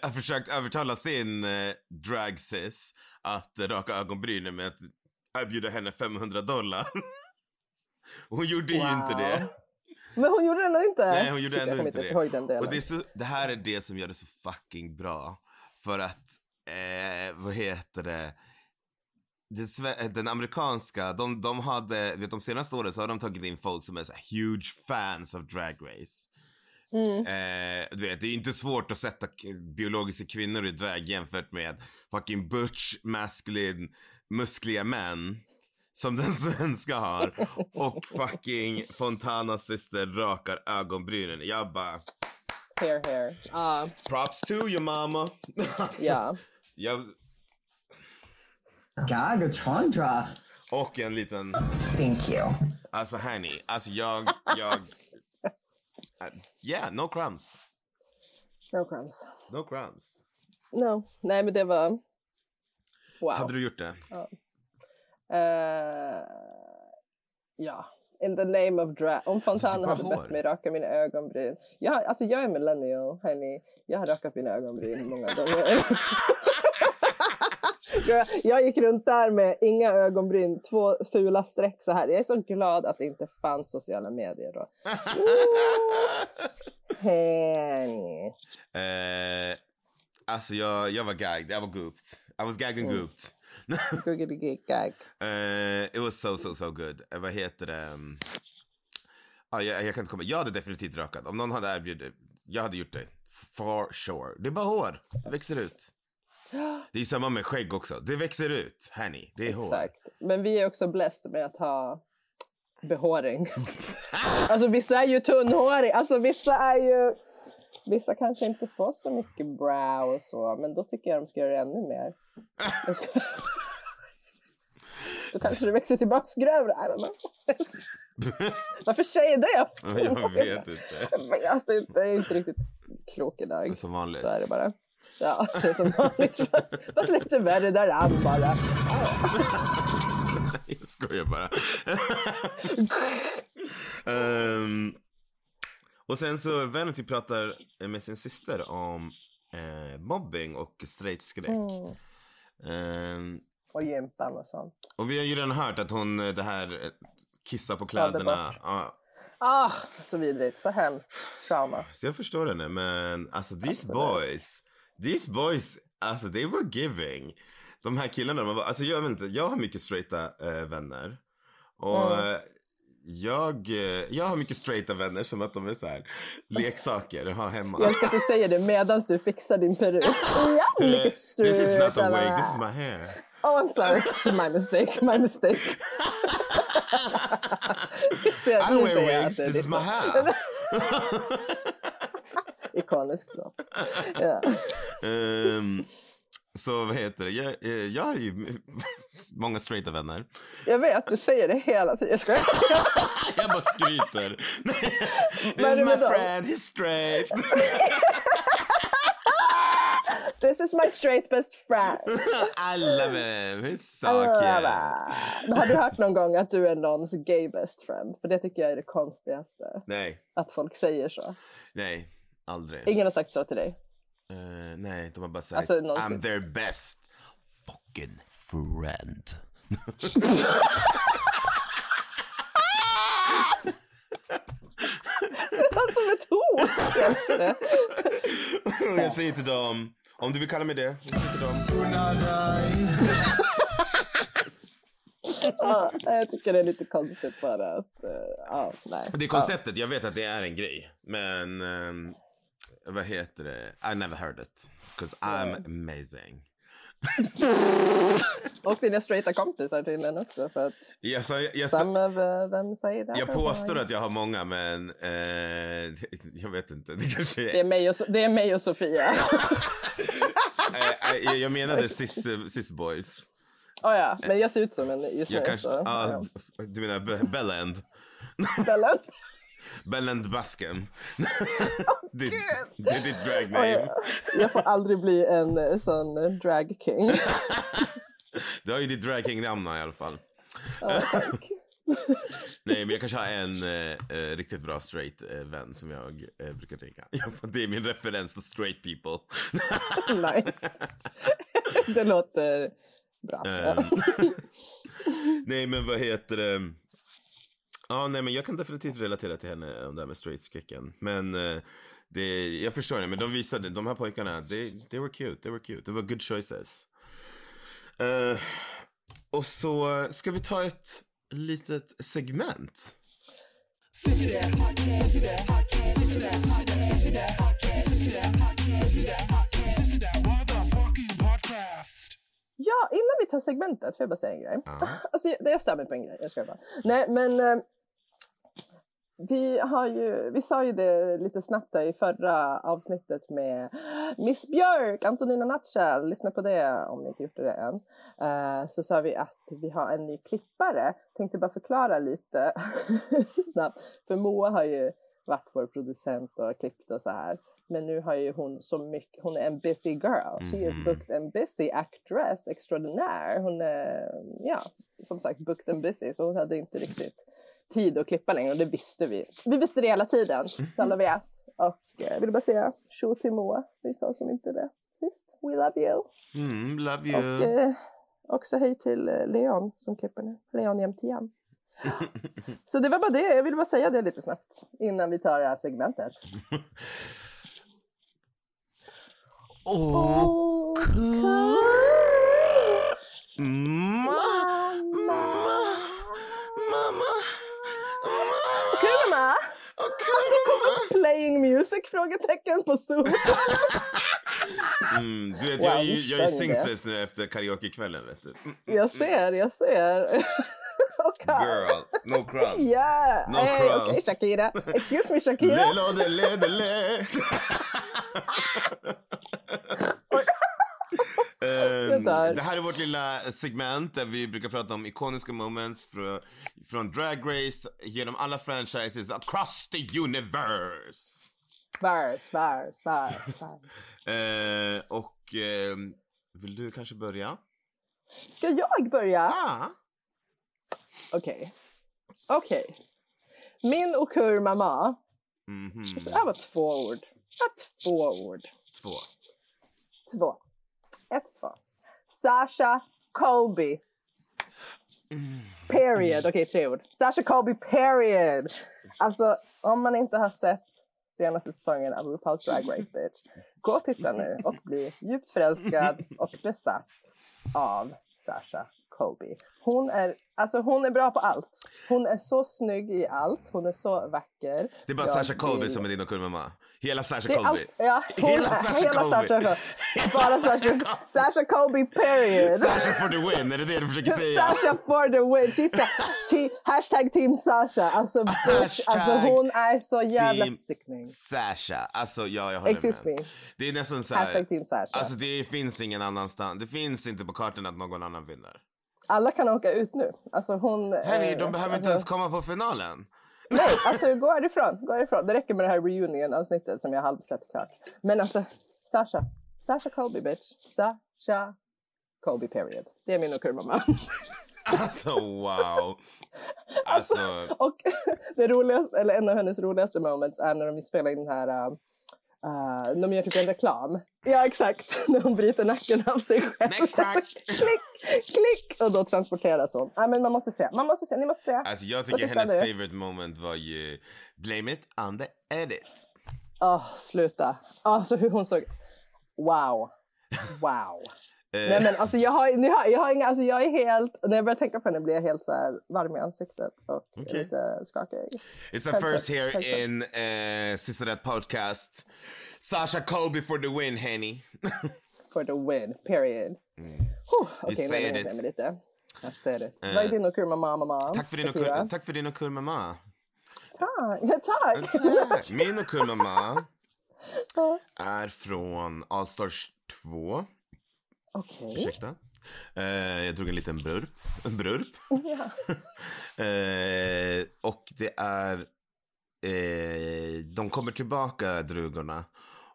[SPEAKER 2] eh, försökt övertala sin eh, drag sis att eh, raka ögonbrynen med att erbjuda henne 500 dollar. Hon gjorde ju inte det.
[SPEAKER 1] Men hon gjorde det ändå inte.
[SPEAKER 2] Nej, hon gjorde
[SPEAKER 1] Shit, jag
[SPEAKER 2] ändå
[SPEAKER 1] kommer
[SPEAKER 2] inte
[SPEAKER 1] ens
[SPEAKER 2] det.
[SPEAKER 1] ihåg den delen.
[SPEAKER 2] Och det, är så, det här är det som gör det så fucking bra. För att, eh, vad heter det? Den, sve- eh, den amerikanska, de, de hade, vet de senaste åren så har de tagit in folk som är så här huge fans av Drag Race.
[SPEAKER 1] Mm.
[SPEAKER 2] Eh, du vet, det är inte svårt att sätta k- biologiska kvinnor i drag jämfört med fucking butch, masculine, muskliga män. Som den svenska har. Och fucking Fontanas syster rakar ögonbrynen. Jag bara,
[SPEAKER 1] Hair, hair. Ja,
[SPEAKER 2] props to you mama. Alltså,
[SPEAKER 1] ja.
[SPEAKER 2] jag,
[SPEAKER 6] Gaga Chandra.
[SPEAKER 2] och en liten,
[SPEAKER 6] Thank you.
[SPEAKER 2] alltså honey, alltså jag, jag. Yeah, no crumbs.
[SPEAKER 1] No crumbs.
[SPEAKER 2] No crumbs.
[SPEAKER 1] No. Nej, men det var... Wow.
[SPEAKER 2] Hade du gjort det?
[SPEAKER 1] Eh, ja. In the name of drag. Om
[SPEAKER 2] Så
[SPEAKER 1] Fontana
[SPEAKER 2] du
[SPEAKER 1] hade
[SPEAKER 2] bara
[SPEAKER 1] bett
[SPEAKER 2] har?
[SPEAKER 1] mig raka mina ögonbryn. Jag, har- alltså jag är millennial, hörni. Jag har rakat mina ögonbryn många gånger. jag, jag gick runt där med inga ögonbryn, två fula streck så här. Jag är så glad att det inte fanns sociala medier då. Hej.
[SPEAKER 2] Eh, alltså jag, jag var gagged. Jag var gooped. I was gagged
[SPEAKER 1] Mm.
[SPEAKER 2] and gooped.
[SPEAKER 1] Guggeligigag.
[SPEAKER 2] Eh, it was so so so good. Eh, vad heter det? Um, ah, jag, jag kan inte komma. Jag hade definitivt rakat. Om någon hade erbjudit. Jag hade gjort det. For sure. Det är bara hår. Det växer ut. Det är samma med skägg också. Det växer ut. Hörni, det är hår.
[SPEAKER 1] Exakt. Men vi är också blessed med att ha behåring. alltså vissa är ju tunnhåriga. Alltså vissa är ju... Vissa kanske inte får så mycket brow och så, men då tycker jag de ska göra det ännu mer. Jag ska... Då kanske det växer tillbaks grövre. I don't know. Jag ska- Varför säger jag det?
[SPEAKER 2] jag vet inte.
[SPEAKER 1] Jag vet inte. Jag är inte riktigt klok idag.
[SPEAKER 2] Som vanligt.
[SPEAKER 1] Så är det bara. Ja, det är som vanligt. Fast, fast lite värre där än bara.
[SPEAKER 2] Jag skojar bara. Ehm, och sen så Vanity pratar med sin syster om eh, mobbing och straightskräck. Ehm,
[SPEAKER 1] Och gympan och sånt.
[SPEAKER 2] och vi har ju redan hört att hon, eh, det här eh, kissa på kläderna. Ja,
[SPEAKER 1] Ah, så vidrigt, så hemskt. Trauma.
[SPEAKER 2] så Alltså, jag förstår henne men alltså these boys, these boys, alltså they were giving. De här killarna, man bara, alltså jag vet inte, jag har mycket straighta eh, vänner. Och
[SPEAKER 1] Mm.
[SPEAKER 2] eh, jag, eh, jag har mycket straighta vänner som att de är så här leksaker att ha hemma.
[SPEAKER 1] Jag älskar att du säger det medan du fixar din peruk. Ja, mycket
[SPEAKER 2] Eh, This is not
[SPEAKER 1] strut.
[SPEAKER 2] a wig, this is my hair.
[SPEAKER 1] Oh, I'm sorry. It's my mistake. My mistake.
[SPEAKER 2] I don't wear wigs, this is my hair.
[SPEAKER 1] Ikonisk låt. Ja.
[SPEAKER 2] Ehm, så vad heter det, jag, eh, jag har ju många straighta vänner.
[SPEAKER 1] Jag vet, du säger det hela tiden. Jag skojar.
[SPEAKER 2] Jag bara skryter. This
[SPEAKER 1] Men
[SPEAKER 2] is
[SPEAKER 1] det
[SPEAKER 2] my
[SPEAKER 1] var då.
[SPEAKER 2] friend, he's straight.
[SPEAKER 1] This is my straight best friend.
[SPEAKER 2] I love him, he's
[SPEAKER 1] Ah,
[SPEAKER 2] so cute.
[SPEAKER 1] Men Har du hört någon gång att du är någons gay best friend? För det tycker jag är det konstigaste.
[SPEAKER 2] Nej,
[SPEAKER 1] Att folk säger så.
[SPEAKER 2] nej, aldrig.
[SPEAKER 1] Ingen har sagt så till dig.
[SPEAKER 2] Eh, nej, de har bara sagt
[SPEAKER 1] Alltså, någonsin.
[SPEAKER 2] I'm their best fucking friend.
[SPEAKER 1] Han som ett hot! Alltså, Jag älskar det.
[SPEAKER 2] Jag säger till dem, om du vill kalla mig det, jag säger till dem.
[SPEAKER 1] Ja, jag tycker det är lite konstigt bara att... eh, Ja, nej.
[SPEAKER 2] Det är konceptet, jag vet att det är en grej. Men ehm, vad heter det? I never heard it. Cause I'm amazing.
[SPEAKER 1] Och dina straighta kompisar tydligen också för att
[SPEAKER 2] Jag, sa, jag, sa,
[SPEAKER 1] some of eh, them say that.
[SPEAKER 2] jag påstår att jag har många men eh, jag vet inte. Det kanske
[SPEAKER 1] Det
[SPEAKER 2] är,
[SPEAKER 1] är mig och, So- det är mig och Sofia.
[SPEAKER 2] eh, eh, jag menade cis, eh, cis boys.
[SPEAKER 1] oh, ja. Men jag ser ut som en just nu.
[SPEAKER 2] Jag kanske,
[SPEAKER 1] så,
[SPEAKER 2] ah,
[SPEAKER 1] ja.
[SPEAKER 2] d- du menar Be- Bellend?
[SPEAKER 1] Istället.
[SPEAKER 2] Bellend Basken. det, det är ditt drag
[SPEAKER 1] Oj,
[SPEAKER 2] name.
[SPEAKER 1] jag får aldrig bli en eh, sån eh, drag king.
[SPEAKER 2] Du har ju ditt drag king namn i alla fall.
[SPEAKER 1] Ja, tack.
[SPEAKER 2] Nej men jag kanske har en eh, eh, riktigt bra straight eh, vän som jag eh, brukar ringa. Jag bara, Det är min referens till straight people.
[SPEAKER 1] nice. det låter bra.
[SPEAKER 2] Ehm, nej men vad heter det? Ja nej men jag kan definitivt relatera till henne om det här med straight-skräcken. Men eh, det, jag förstår det, men de visade, de här pojkarna, they, they were cute, they were cute. Det var good choices. Eh, och så ska vi ta ett litet segment.
[SPEAKER 1] Ja, innan vi tar segmentet får jag bara säga en grej.
[SPEAKER 2] Ja.
[SPEAKER 1] Alltså, jag- jag stör mig på en grej. Jag ska bara. Nej, men eh, vi, har ju, vi sa ju det lite snabbt där i förra avsnittet med Miss Björk, Antonina Natcha. Lyssna på det om ni inte gjort det än. Eh, så sa vi att vi har en ny klippare. Tänkte bara förklara lite snabbt. För Moa har ju varit vår producent och klippt och så här. Men nu har ju hon så mycket, hon är en busy girl. She is
[SPEAKER 2] Mhm.
[SPEAKER 1] booked and busy actress extraordinär. Hon är, ja, som sagt booked and busy så hon hade inte riktigt tid att klippa längre och det visste vi. Vi visste det hela tiden, så alla vet. Och eh, jag vill bara säga tjo till Moa, vi sa som inte det sist. We love you.
[SPEAKER 2] Mm, love you.
[SPEAKER 1] Och eh, också hej till eh, Leon som klipper nu. Leon Jämtian. Så det var bara det. Jag ville bara säga det lite snabbt innan vi tar det här segmentet.
[SPEAKER 2] Åh, cool. Mamma, mamma, mamma, mamma.
[SPEAKER 1] Kurma!
[SPEAKER 2] Åh, cool, mamma.
[SPEAKER 1] Playing music? Frågetecken på Zoom.
[SPEAKER 2] Mm, du vet,
[SPEAKER 1] Wow,
[SPEAKER 2] jag, är
[SPEAKER 1] vi
[SPEAKER 2] ju- jag är
[SPEAKER 1] känner det.
[SPEAKER 2] singstress nu efter karaokekvällen, vet du. Mm,
[SPEAKER 1] Jag ser, jag ser. Och här.
[SPEAKER 2] Girl, no crumbs.
[SPEAKER 1] Yeah!
[SPEAKER 2] No
[SPEAKER 1] hey,
[SPEAKER 2] crumbs.
[SPEAKER 1] Okej, Shakira. Excuse me, Shakira.
[SPEAKER 2] Lelo de le de le. Ehm,
[SPEAKER 1] Det där.
[SPEAKER 2] det här är vårt lilla segment där vi brukar prata om ikoniska moments från, från Drag Race genom alla franchises across the universe.
[SPEAKER 1] Vers, vers, vers. vers.
[SPEAKER 2] Eh, och ehm, vill du kanske börja?
[SPEAKER 1] Ska jag börja?
[SPEAKER 2] Ah,
[SPEAKER 1] Okej. Okej. Min och kur mamma.
[SPEAKER 2] mhm,
[SPEAKER 1] Så det var två ord. Det var två ord.
[SPEAKER 2] Två.
[SPEAKER 1] Två. Ett, två. Sasha Kobe. Period. Okej, tre ord. Sasha Kobe, period. Alltså, om man inte har sett senaste säsongen av RuPaul's Drag Race, bitch. Gå och titta nu och bli djupt förälskad och besatt av Sasha Kobe. Hon är, alltså hon är bra på allt. Hon är så snygg i allt. Hon är så vacker.
[SPEAKER 2] Det är bara
[SPEAKER 1] Jag
[SPEAKER 2] Sasha Colby
[SPEAKER 1] vill-
[SPEAKER 2] som är din och kurmamma. Hela Sasha
[SPEAKER 1] det är
[SPEAKER 2] Colby.
[SPEAKER 1] allt, ja, hon,
[SPEAKER 2] Hela
[SPEAKER 1] hela
[SPEAKER 2] Sasha
[SPEAKER 1] Sasha
[SPEAKER 2] Colby.
[SPEAKER 1] Kobe. Bara Sasha, Sasha Kobe period.
[SPEAKER 2] Sasha for the win, är det det du försöker säga?
[SPEAKER 1] Sasha for the win. She's the te- hashtag team Sasha. Alltså, bitch,
[SPEAKER 2] Hashtag
[SPEAKER 1] alltså hon är så jävla
[SPEAKER 2] team
[SPEAKER 1] sickening.
[SPEAKER 2] Sasha. Alltså ja, jag håller
[SPEAKER 1] Excuse
[SPEAKER 2] med.
[SPEAKER 1] me.
[SPEAKER 2] Det är nästan så här.
[SPEAKER 1] Hashtag team Sasha.
[SPEAKER 2] Alltså det finns ingen annanstans. Det finns inte på kartan att någon annan vinner.
[SPEAKER 1] Alla kan åka ut nu. Alltså hon...
[SPEAKER 2] Henry,
[SPEAKER 1] eh,
[SPEAKER 2] de behöver inte
[SPEAKER 1] alltså-
[SPEAKER 2] ens komma på finalen.
[SPEAKER 1] Nej, alltså gå härifrån. Gå härifrån. Det räcker med det här reunion-avsnittet som jag halvsett klart. Men alltså, Sasha. Sasha Kobe, bitch. Sasha Kobe, period. Det är min och kurmamma.
[SPEAKER 2] Alltså wow. Alltså,
[SPEAKER 1] Och det roligaste, eller en av hennes roligaste moments är när de spelar in den här... Uh, uh, de gör typ en reklam. Ja, exakt. När hon bryter nacken av sig själv.
[SPEAKER 2] Nej, crack.
[SPEAKER 1] klick, klick! Och då transporteras hon. Nej, men man måste se. Man måste se. Ni måste se.
[SPEAKER 2] alltså jag
[SPEAKER 1] Vad
[SPEAKER 2] tycker
[SPEAKER 1] tyckte
[SPEAKER 2] hennes
[SPEAKER 1] du?
[SPEAKER 2] favorite moment var ju Blame it on the edit.
[SPEAKER 1] Åh, sluta. Alltså hur hon såg... Wow. Wow.
[SPEAKER 2] Eh,
[SPEAKER 1] Nej men alltså jag har, ni har, jag har inga, alltså jag är helt, när jag börjar tänka på henne blir jag helt så här varm i ansiktet och
[SPEAKER 2] Okej.
[SPEAKER 1] lite skakig.
[SPEAKER 2] It's the
[SPEAKER 1] Perfect,
[SPEAKER 2] first here
[SPEAKER 1] perfect.
[SPEAKER 2] in uh, Sister That podcast. Sasha Colby for the win, Henny.
[SPEAKER 1] For the win, period.
[SPEAKER 2] Mm.
[SPEAKER 1] Huh, Okej, nu
[SPEAKER 2] said
[SPEAKER 1] har jag lugnat ner
[SPEAKER 2] it.
[SPEAKER 1] mig lite. Jag ser det. Vad är din och kurma mamma mamma?
[SPEAKER 2] Eh. Tack för din och
[SPEAKER 1] Shakira?
[SPEAKER 2] kul- tack för din och kul mamma.
[SPEAKER 1] Tack! Ja, tack!
[SPEAKER 2] Mm. Tack. Min och kul mamma är från All Stars 2.
[SPEAKER 1] Okej.
[SPEAKER 2] Ursäkta. Eh, jag drog en liten brurp. En brurp. Eh, och det är... Eh, de kommer tillbaka, drugorna.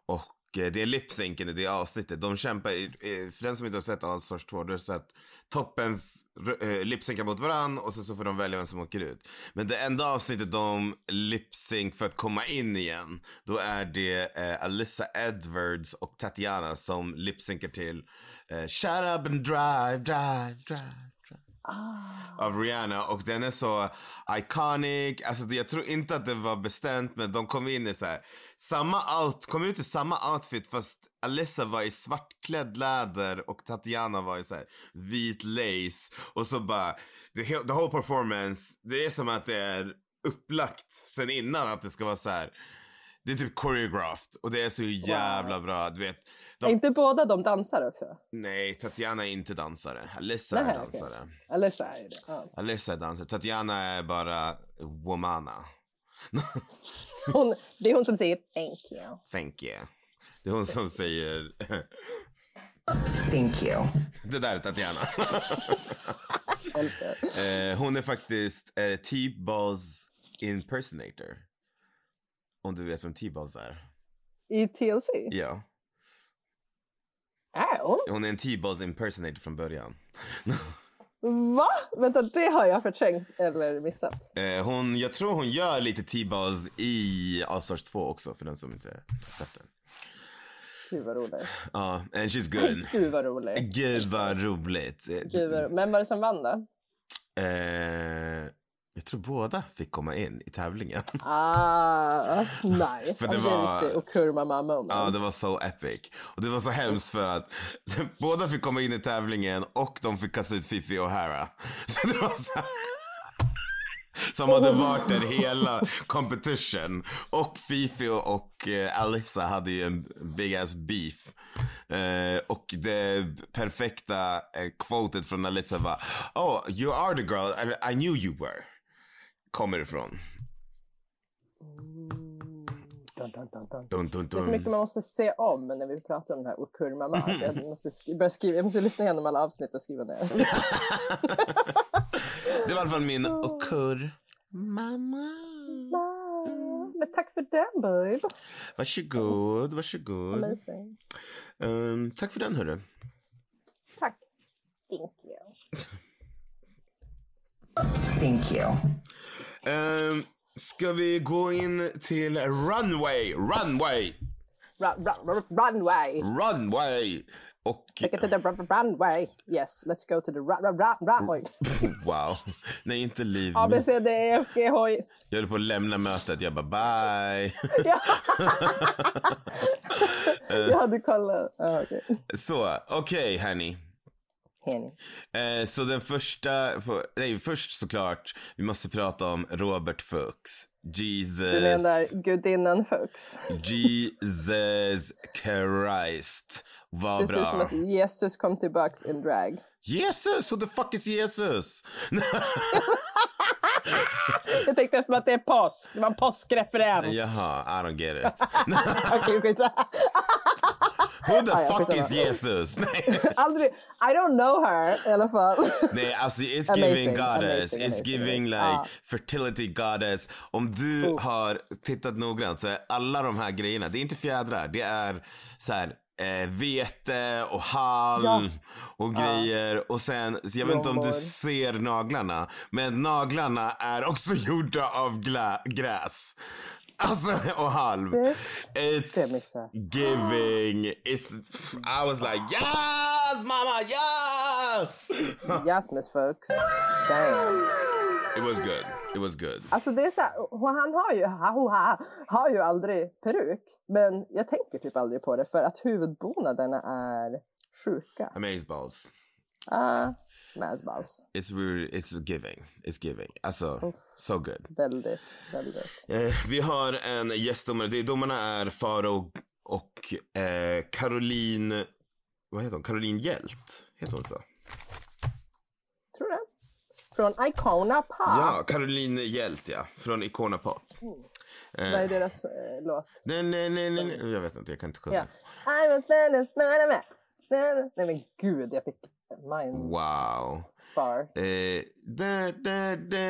[SPEAKER 2] Och eh, det är lipsynken i det avsnittet. De kämpar, eh, för den som inte har sett All Stars 2, då är det så att toppen f- r- eh, lipsynkar mot varann och så, så får de välja vem som åker ut. Men det enda avsnittet de lipsynk för att komma in igen, då är det eh, Alyssa Edwards och Tatiana som lipsynkar till eh, Shut up and drive, drive, drive. drive av Rihanna och den är så iconic. Alltså det- jag tror inte att det var bestämt men de kom in i så här samma out, kom ut i samma outfit fast Alessa var i svartklädd läder och Tatiana var i så här vit lace och så bara the, he- the whole performance, det är som att det är upplagt sen innan att det ska vara så här det är typ choreographed och det är så jävla bra, du vet.
[SPEAKER 1] Är
[SPEAKER 2] De,
[SPEAKER 1] inte båda de dansar också?
[SPEAKER 2] nej, Tatiana är inte dansare. Alessa
[SPEAKER 1] Nej,
[SPEAKER 2] är
[SPEAKER 1] okej.
[SPEAKER 2] dansare.
[SPEAKER 1] Eller så är det. Ja.
[SPEAKER 2] Alessa är dansare. Tatiana är bara womana.
[SPEAKER 1] Hon, det är hon som säger thank you.
[SPEAKER 2] Thank you. Det är hon som säger...
[SPEAKER 6] Thank you.
[SPEAKER 2] Det där är Tatiana.
[SPEAKER 1] Älskar.
[SPEAKER 2] eh, hon är faktiskt eh, T-Balls impersonator. Om du vet vem T-Bows är?
[SPEAKER 1] I TLC?
[SPEAKER 2] Ja.
[SPEAKER 1] Är hon?
[SPEAKER 2] Hon är en T-Bows impersonator från början.
[SPEAKER 1] Va? Vänta, det har jag förträngt eller missat.
[SPEAKER 2] Eh, hon, jag tror hon gör lite T-Bows i Allstars 2 också för den som inte sett den.
[SPEAKER 1] Gud vad roligt.
[SPEAKER 2] Ja, and she's good.
[SPEAKER 1] Gud vad roligt.
[SPEAKER 2] Gud vad roligt. Eh,
[SPEAKER 1] Gud vad... Vem var det som vann då?
[SPEAKER 2] Eh, jag tror båda fick komma in i tävlingen.
[SPEAKER 1] Ah, nice.
[SPEAKER 2] För det
[SPEAKER 1] Ah,
[SPEAKER 2] var-
[SPEAKER 1] riktigt Och kurma mamma om
[SPEAKER 2] Ja, det var så epic. Och det var så hemskt för att båda fick komma in i tävlingen och de fick kasta ut Fifi och Hara. Så det var så här- Som hade varit där hela competition. Och Fifi och eh, Alyssa hade ju en big ass beef. Eh, och det perfekta eh, quotet från Alyssa var Oh, you are the girl I, I knew you were. Kommer ifrån.
[SPEAKER 1] Dun, dun, dun, dun.
[SPEAKER 2] Dun, dun,
[SPEAKER 1] Det är så mycket
[SPEAKER 2] dun.
[SPEAKER 1] man måste se om när vi pratar om den här Okurmama. Alltså jag, måste sk- börja skriva, jag måste lyssna igenom alla avsnitt och skriva ner.
[SPEAKER 2] Det var i alla fall min okur. Mamma.
[SPEAKER 1] Men tack för den, babe.
[SPEAKER 2] Varsågod, varsågod.
[SPEAKER 1] Amazing.
[SPEAKER 2] Um, tack för den hörru.
[SPEAKER 1] Tack. Thank you.
[SPEAKER 6] Thank you.
[SPEAKER 2] Um, ska vi gå in till runway, runway,
[SPEAKER 1] Ra- ra- ra- runway.
[SPEAKER 2] runway. Och
[SPEAKER 1] Take it to the ra- ra- runway. Yes, let's go to the ra- ra- ra- runway.
[SPEAKER 2] oh, wow, nej inte liv.
[SPEAKER 1] A, B, C, D, E, F, G, H, I.
[SPEAKER 2] Jag höll på att lämna mötet, jag bara bye.
[SPEAKER 1] Ja. Jag hade kollat. Ah, okej.
[SPEAKER 2] Så, okej hörni.
[SPEAKER 1] Henny.
[SPEAKER 2] Eh, så den första, på- nej först såklart, vi måste prata om Robert Fuchs. Jesus.
[SPEAKER 1] Du menar gudinnan Fuchs?
[SPEAKER 2] Jesus Christ. Vad
[SPEAKER 1] Precis som
[SPEAKER 2] bra.
[SPEAKER 1] att Jesus kom tillbaks in drag.
[SPEAKER 2] Jesus, who the fuck is Jesus?
[SPEAKER 1] Jag tänkte eftersom att det är påsk. Det var en påskreferens.
[SPEAKER 2] Jaha, I don't get it.
[SPEAKER 1] Okej, skitsamma.
[SPEAKER 2] Who the
[SPEAKER 1] Ah, ja,
[SPEAKER 2] fuck is
[SPEAKER 1] skitsamma.
[SPEAKER 2] Jesus? Nej,
[SPEAKER 1] Aldrig. I don't know her i alla fall.
[SPEAKER 2] Nej alltså it's
[SPEAKER 1] Amazing,
[SPEAKER 2] giving goddess.
[SPEAKER 1] amazing,
[SPEAKER 2] it's
[SPEAKER 1] amazing.
[SPEAKER 2] giving like
[SPEAKER 1] Ah.
[SPEAKER 2] fertility goddess. Om du
[SPEAKER 1] Oh.
[SPEAKER 2] har tittat noggrant så är alla de här grejerna, det är inte fjädrar, det är så här eh, vete och halm och grejer. Och sen, så jag vet inte om du
[SPEAKER 1] Blommor.
[SPEAKER 2] ser naglarna, men naglarna är också gjorda av gla- gräs. Alltså, och halm.
[SPEAKER 1] Det missade
[SPEAKER 2] It's giving. It's, I was like yes mamma yes!
[SPEAKER 1] yes, Miss Fuchs. Damn.
[SPEAKER 2] It was good. It was good.
[SPEAKER 1] Alltså det är så här, och han har ju, ha, ho, ha, har ju aldrig peruk. Men jag tänker typ aldrig på det för att huvudbonaderna är sjuka.
[SPEAKER 2] Amaze balls.
[SPEAKER 1] Ah, Masballs.
[SPEAKER 2] It's weird. It's giving. It's giving. Alltså, so good.
[SPEAKER 1] Väldigt, väldigt.
[SPEAKER 2] Eh, vi har en gästdomare. Det- Domarna är Faro och eh, Caroline... Vad heter hon? Caroline Hjält? Heter hon så?
[SPEAKER 1] Tror du det? Från Icona Pop.
[SPEAKER 2] Ja, Caroline Hjält ja. Från Icona Pop.
[SPEAKER 1] Vad är deras eh, låt?
[SPEAKER 2] Nej, nej, nej, nej. nej. Jag vet inte, jag kan inte sjunga.
[SPEAKER 1] Ja. I'm a fan of Spider-Man. Nej men gud, jag fick mindfar.
[SPEAKER 2] Wow. Eh, da, da, da.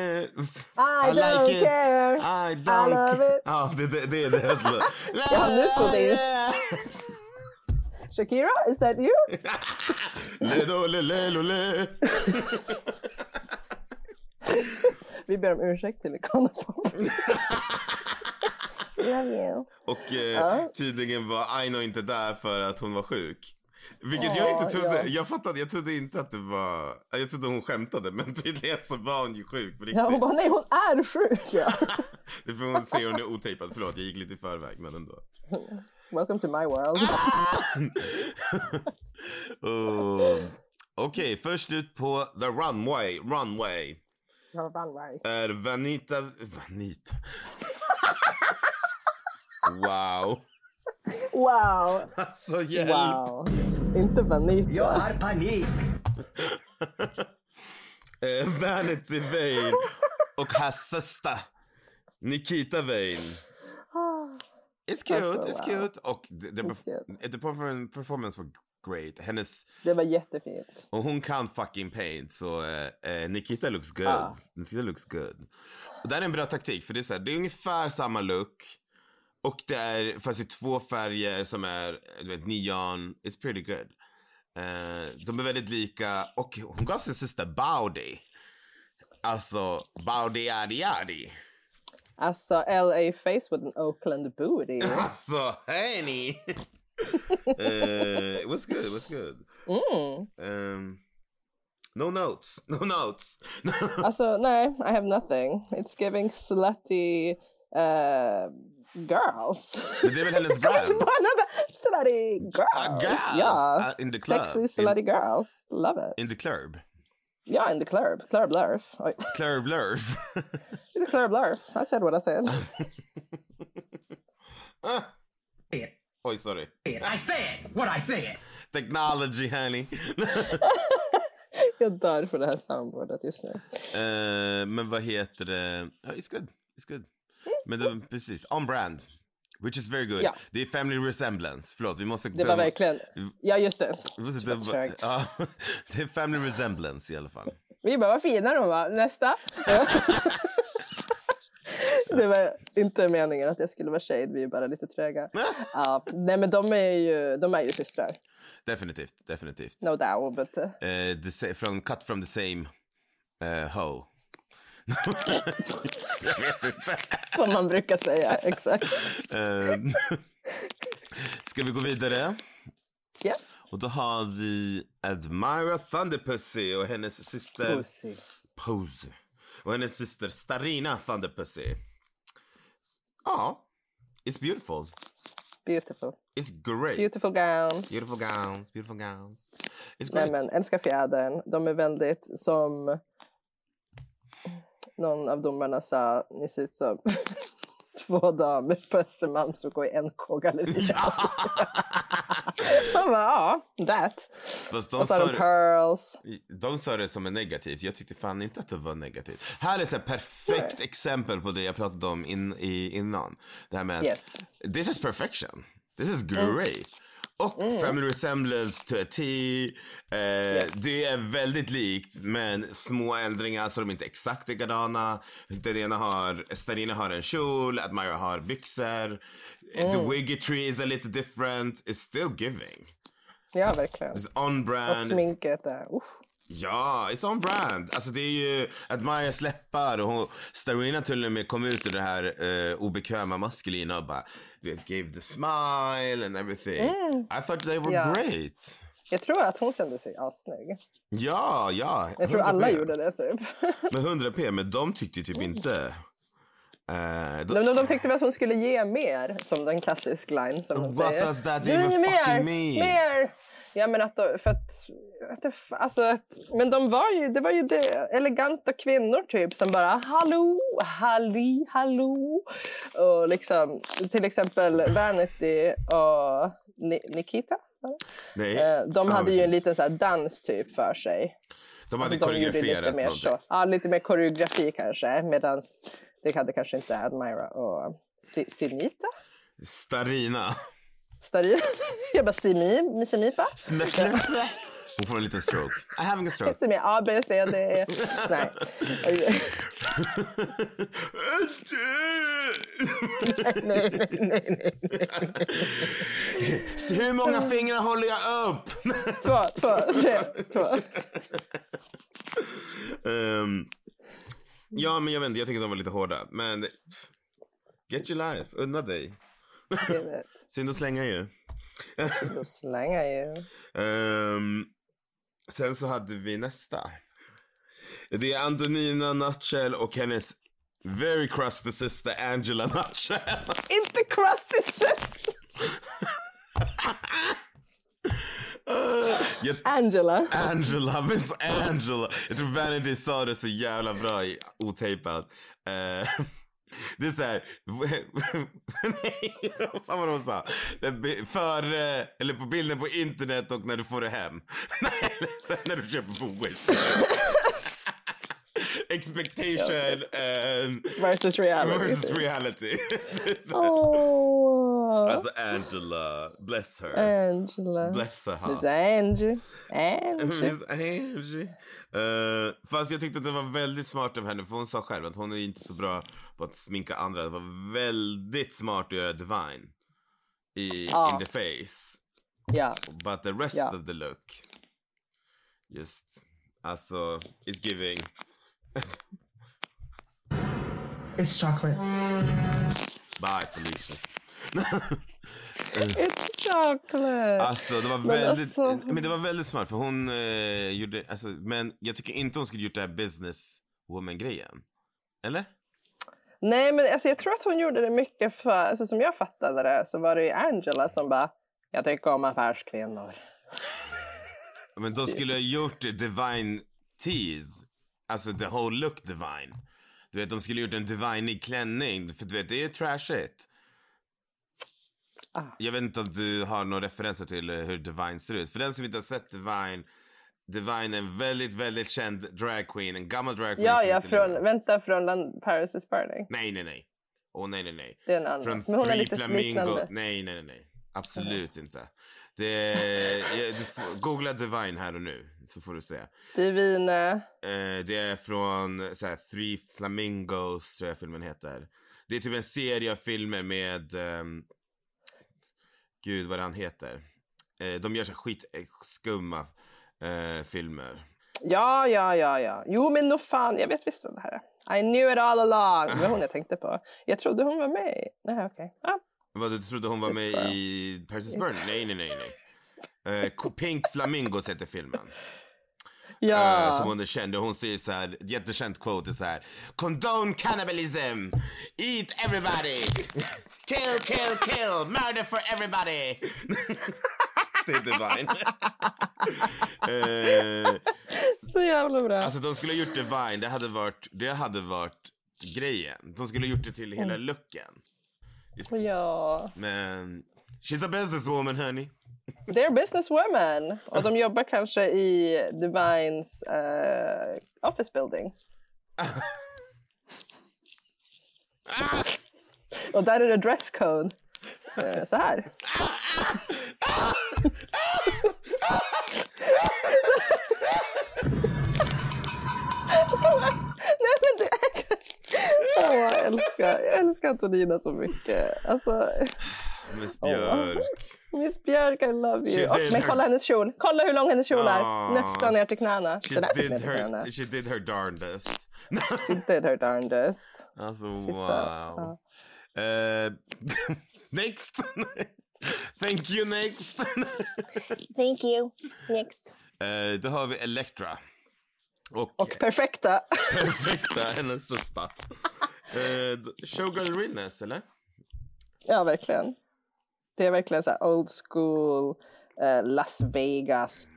[SPEAKER 2] I,
[SPEAKER 1] don't care.
[SPEAKER 2] I don't
[SPEAKER 1] love
[SPEAKER 2] care.
[SPEAKER 1] it.
[SPEAKER 2] Ja, det, det, det är deras låt.
[SPEAKER 1] Ja, nu står det ju. Shakira, is that you?
[SPEAKER 2] Ledo, le, le, lo, le.
[SPEAKER 1] Vi ber om ursäkt till Icona Pop. Love you.
[SPEAKER 2] Och eh, tydligen var Aino inte där för att hon var sjuk. Vilket jag
[SPEAKER 1] Ja,
[SPEAKER 2] inte trodde.
[SPEAKER 1] ja.
[SPEAKER 2] Jag fattade, jag trodde inte att det var... Jag trodde hon skämtade men tydligen så var hon ju sjuk på riktigt.
[SPEAKER 1] Ja, hon bara, nej hon är sjuk! Ja.
[SPEAKER 2] Det får hon se, hon är otejpad. Förlåt, jag gick lite i förväg men ändå.
[SPEAKER 1] Welcome to my world.
[SPEAKER 2] Oh. Okej, först ut på the runway, runway.
[SPEAKER 1] Runway.
[SPEAKER 2] är Vanita... Vanita? wow.
[SPEAKER 1] Wow!
[SPEAKER 2] Alltså hjälp!
[SPEAKER 1] Wow! Inte Vanita.
[SPEAKER 7] Jag har panik.
[SPEAKER 2] Eh, Vanity Vane och Hassasta. Nikita Vane. It's cute,
[SPEAKER 1] Alltså,
[SPEAKER 2] it's
[SPEAKER 1] wow.
[SPEAKER 2] cute. Och the, the,
[SPEAKER 1] It's
[SPEAKER 2] the perform- performance var great. Hennes,
[SPEAKER 1] Det var jättefint.
[SPEAKER 2] och hon kan fucking paint så eh, eh, Nikita looks good.
[SPEAKER 1] Ja.
[SPEAKER 2] Nikita looks good. Och det här är en bra taktik för det är, så här, det är ungefär samma look. Och det är, fast i två färger som är, du vet, neon. It's pretty good. Eh, de är väldigt lika. Och hon gav sin syster Baudi. Alltså, Baudi yadi yadi.
[SPEAKER 1] Alltså LA face with an Oakland booty.
[SPEAKER 2] Alltså, hörni! Eh, what's good, what's good?
[SPEAKER 1] Mm.
[SPEAKER 2] Ehm, no notes, no notes.
[SPEAKER 1] Alltså nej, I have nothing. It's giving slutty eh, girls.
[SPEAKER 2] Men det är väl hennes
[SPEAKER 1] Kan vi inte
[SPEAKER 2] brand?
[SPEAKER 1] bara använda slutty girls?
[SPEAKER 2] Ah, girls,
[SPEAKER 1] Ja.
[SPEAKER 2] ah, in the club.
[SPEAKER 1] Sexy
[SPEAKER 2] In-
[SPEAKER 1] slutty girls. Love it.
[SPEAKER 2] In the club.
[SPEAKER 1] yeah, in the club. Club lurf. Oj,
[SPEAKER 2] Club lurf.
[SPEAKER 1] in the club lurf. I said what I said.
[SPEAKER 2] Ah. Oj, sorry.
[SPEAKER 7] I said what I said.
[SPEAKER 2] Technology, honey.
[SPEAKER 1] Jag dör för det här soundboardet just nu.
[SPEAKER 2] Eh, men vad heter det? Ja, It's good. It's good. Men det, precis, on brand. Which is very good.
[SPEAKER 1] Mm. Ja.
[SPEAKER 2] Det är family resemblance. Förlåt, vi måste...
[SPEAKER 1] Det var verkligen... Ja, just det.
[SPEAKER 2] vi måste
[SPEAKER 1] det var
[SPEAKER 2] döma-
[SPEAKER 1] trögt.
[SPEAKER 2] ja, det är family resemblance i alla fall.
[SPEAKER 1] Vi bara, vad fina de var. Nästa. det var inte meningen att jag skulle vara shade. Vi är bara lite tröga. Ja, nej, men de är, ju, de är ju systrar.
[SPEAKER 2] Definitivt, definitivt.
[SPEAKER 1] No doubt. But,
[SPEAKER 2] Eh, the sa- från Cut from the same eh, hoe. Jag vet inte.
[SPEAKER 1] som man brukar säga. Exakt.
[SPEAKER 2] Eh, ska vi gå vidare?
[SPEAKER 1] Ja.
[SPEAKER 2] Och då har vi Admira Thunderpussy och hennes syster
[SPEAKER 1] Pussy.
[SPEAKER 2] Pose. Och hennes syster Starina Thunderpussy. Ja, it's beautiful.
[SPEAKER 1] Beautiful.
[SPEAKER 2] It's great.
[SPEAKER 1] Beautiful gowns.
[SPEAKER 2] beautiful gowns, beautiful gowns. It's
[SPEAKER 1] Nej
[SPEAKER 2] great.
[SPEAKER 1] men älskar fjädern. De är väldigt som någon av domarna sa, ni ser ut som två damer på Östermalm som går i NK-gallerian. Man bara, ja, that.
[SPEAKER 2] Fast de
[SPEAKER 1] Och så har
[SPEAKER 2] sa
[SPEAKER 1] de
[SPEAKER 2] det-
[SPEAKER 1] pearls.
[SPEAKER 2] De sa det som är negativt. Jag tyckte fan inte att det var negativt. Här är ett perfekt exempel på det jag pratade om in, i, innan. Det här med att
[SPEAKER 1] Yes.
[SPEAKER 2] this is perfection. This is great. Och family resemblance to a T. Eh, Det är väldigt likt men små ändringar så de är inte exakt likadana. Den ena har, Starina har en kjol, Admira har byxor. The wiggetry is a little different. It's still giving.
[SPEAKER 1] Ja, verkligen.
[SPEAKER 2] It's on
[SPEAKER 1] Och
[SPEAKER 2] brand.
[SPEAKER 1] sminket där. Usch.
[SPEAKER 2] Ja, it's on brand. Alltså det är ju att Maja släppar och hon, Starina till och med kom ut ur det här eh, obekväma maskulina och bara du vet, gave the smile and everything. I thought they were
[SPEAKER 1] Eh. Ja.
[SPEAKER 2] great.
[SPEAKER 1] Jag tror att hon kände sig assnygg.
[SPEAKER 2] Ja, ja.
[SPEAKER 1] Jag tror alla
[SPEAKER 2] 100p.
[SPEAKER 1] gjorde det typ.
[SPEAKER 2] Men 100 p, men de tyckte ju typ inte. Eh, de,
[SPEAKER 1] De, de, de tyckte väl att hon skulle ge mer, som den klassisk line som de
[SPEAKER 2] What
[SPEAKER 1] säger.
[SPEAKER 2] does that
[SPEAKER 1] Du,
[SPEAKER 2] even
[SPEAKER 1] mer,
[SPEAKER 2] fucking mean?
[SPEAKER 1] Mer! Ja, men att de, för att, att det, alltså att, men de var ju, det var ju det, eleganta kvinnor typ som bara hallå, halli, hallå. Och liksom, till exempel Vanity och Ni- Nikita. var det?
[SPEAKER 2] Nej.
[SPEAKER 1] Eh, De
[SPEAKER 2] Ja,
[SPEAKER 1] hade ju en
[SPEAKER 2] precis.
[SPEAKER 1] liten så här dans typ för sig.
[SPEAKER 2] De hade
[SPEAKER 1] Alltså, de gjorde lite
[SPEAKER 2] koreograferat
[SPEAKER 1] mer, så,
[SPEAKER 2] någonting.
[SPEAKER 1] ja, lite mer koreografi kanske. Medan det hade kanske inte Admira och Si- Sinita.
[SPEAKER 2] Starina.
[SPEAKER 1] Starin. Jag bara Simi, Simipa.
[SPEAKER 2] Alltså. Smärtlöfte. Hon får en liten stroke. I'm having a stroke.
[SPEAKER 1] Som är A, B, C, D. E. Nej. nej, nej, nej, nej.
[SPEAKER 2] Så Hur många fingrar håller jag upp?
[SPEAKER 1] Två, två, tre, två.
[SPEAKER 2] Ehm, ja, men jag vet inte. Jag tycker de var lite hårda. Men get your life. Unna dig.
[SPEAKER 1] Jag vet.
[SPEAKER 2] Synd att slänga ju.
[SPEAKER 1] Då slänger jag ju.
[SPEAKER 2] Ehm, sen så hade vi nästa. Det är Antonina Nutshell och hennes very crusty sister Angela Nutshell.
[SPEAKER 1] Inte crusty sister!
[SPEAKER 2] jag,
[SPEAKER 1] Angela.
[SPEAKER 2] Angela, Miss Angela. Jag tror Vanity sa det så jävla bra i otejpad. Eh, det är såhär... Nej, fan vad de sa. För, eh, eller på bilden på internet och när du får det hem. Nej, eller så här, när du köper på Wish. Expectation and
[SPEAKER 1] Versus reality.
[SPEAKER 2] versus reality. Det är så här.
[SPEAKER 1] Åh.
[SPEAKER 2] Alltså Angela, bless her.
[SPEAKER 1] Angela.
[SPEAKER 2] Bless her heart.
[SPEAKER 1] Eh, Miss Angie. Angie.
[SPEAKER 2] Miss Angie. Eh, fast jag tyckte att det var väldigt smart av henne för hon sa själv att hon är inte så bra på att sminka andra. Det var väldigt smart att göra Divine i
[SPEAKER 1] Ja.
[SPEAKER 2] in the face.
[SPEAKER 1] Ja,
[SPEAKER 2] But the rest
[SPEAKER 1] Ja.
[SPEAKER 2] of the look. Just, alltså, it's giving.
[SPEAKER 6] It's chocolate.
[SPEAKER 2] Bye Felicia.
[SPEAKER 1] it's chocolate!
[SPEAKER 2] Alltså det var
[SPEAKER 1] Men
[SPEAKER 2] väldigt,
[SPEAKER 1] alltså-
[SPEAKER 2] men det var väldigt smart för hon eh, gjorde, alltså, men jag tycker inte hon skulle gjort det här business woman grejen. Eller?
[SPEAKER 1] Nej, men alltså, jag tror att hon gjorde det mycket för, alltså, som jag fattade det så var det ju Angela som bara, jag tycker om affärskvinnor.
[SPEAKER 2] Men de skulle ha gjort divine tease. Alltså the whole look divine. Du vet de skulle ha gjort en divine klänning. För du vet det är trashigt.
[SPEAKER 1] Ah.
[SPEAKER 2] Jag vet inte om du har några referenser till eh, hur divine ser ut. För den som inte har sett divine. Divine är en väldigt, väldigt känd drag queen. En gammal drag queen.
[SPEAKER 1] Ja,
[SPEAKER 2] som
[SPEAKER 1] ja,
[SPEAKER 2] heter Luna.
[SPEAKER 1] från, vänta, från Lan- Paris is burning.
[SPEAKER 2] Nej, nej, nej. Åh, nej, nej, nej.
[SPEAKER 1] Det är en annan.
[SPEAKER 2] Från
[SPEAKER 1] Alltså, men hon är
[SPEAKER 2] Three
[SPEAKER 1] lite liknande.
[SPEAKER 2] Nej, nej, nej, nej. Absolut inte. Det är, jag, du får, googla Divine här och nu så får du se.
[SPEAKER 1] Divine.
[SPEAKER 2] Eh, det är från så här, Three Flamingos tror jag filmen heter. Det är typ en serie av filmer med, ehm, gud vad han heter. Eh, de gör så här skitskumma eh, filmer.
[SPEAKER 1] Ja, ja, ja, ja. Jo, men nog fan, jag vet visst vad det här är. I knew it all along. Det var hon jag tänkte på. Jag trodde hon var med i... Nej, okej. Ah,
[SPEAKER 2] Vad, du trodde hon var med
[SPEAKER 1] Just det.
[SPEAKER 2] i Paris is Burning? Nej, nej, nej. nej. Eh, Ko- Pink Flamingos heter filmen.
[SPEAKER 1] ja.
[SPEAKER 2] Eh, som hon är känd. Och Hon säger så här, ett jättekänt quote är så här. Condone cannibalism! Eat everybody! Kill, kill, kill! Murder for everybody! det är Divine. Eh,
[SPEAKER 1] Så jävla bra.
[SPEAKER 2] alltså de skulle ha gjort Divine, det hade varit, det hade varit grejen. De skulle ha gjort det till hela looken.
[SPEAKER 1] ja.
[SPEAKER 2] Men she's a businesswoman honey.
[SPEAKER 1] They're businesswomen. Och de jobbar kanske i Divines eh, office building. Och där är det dresscode. Eh, så här. Nej men det är... Åh, jag älskar, jag älskar Antonina så mycket. Alltså,
[SPEAKER 2] Miss Björk.
[SPEAKER 1] Miss Björk, I love you.
[SPEAKER 2] She
[SPEAKER 1] Och,
[SPEAKER 2] did
[SPEAKER 1] men
[SPEAKER 2] her-
[SPEAKER 1] kolla hennes kjol. Kolla hur lång hennes kjol
[SPEAKER 2] Ah.
[SPEAKER 1] är. Nästan ner till knäna.
[SPEAKER 2] She
[SPEAKER 1] Den är
[SPEAKER 2] did,
[SPEAKER 1] ner till knäna.
[SPEAKER 2] her, she did her darndest.
[SPEAKER 1] She did her darndest.
[SPEAKER 2] alltså
[SPEAKER 1] ja.
[SPEAKER 2] wow. Eh, next! Thank you next!
[SPEAKER 1] Thank you. Next.
[SPEAKER 2] Eh, då har vi Elektra. Och,
[SPEAKER 1] Och perfekta.
[SPEAKER 2] perfekta, hennes sista. Eh, showgirl realness eller?
[SPEAKER 1] ja, verkligen. Det är verkligen så här old school eh, Las Vegas.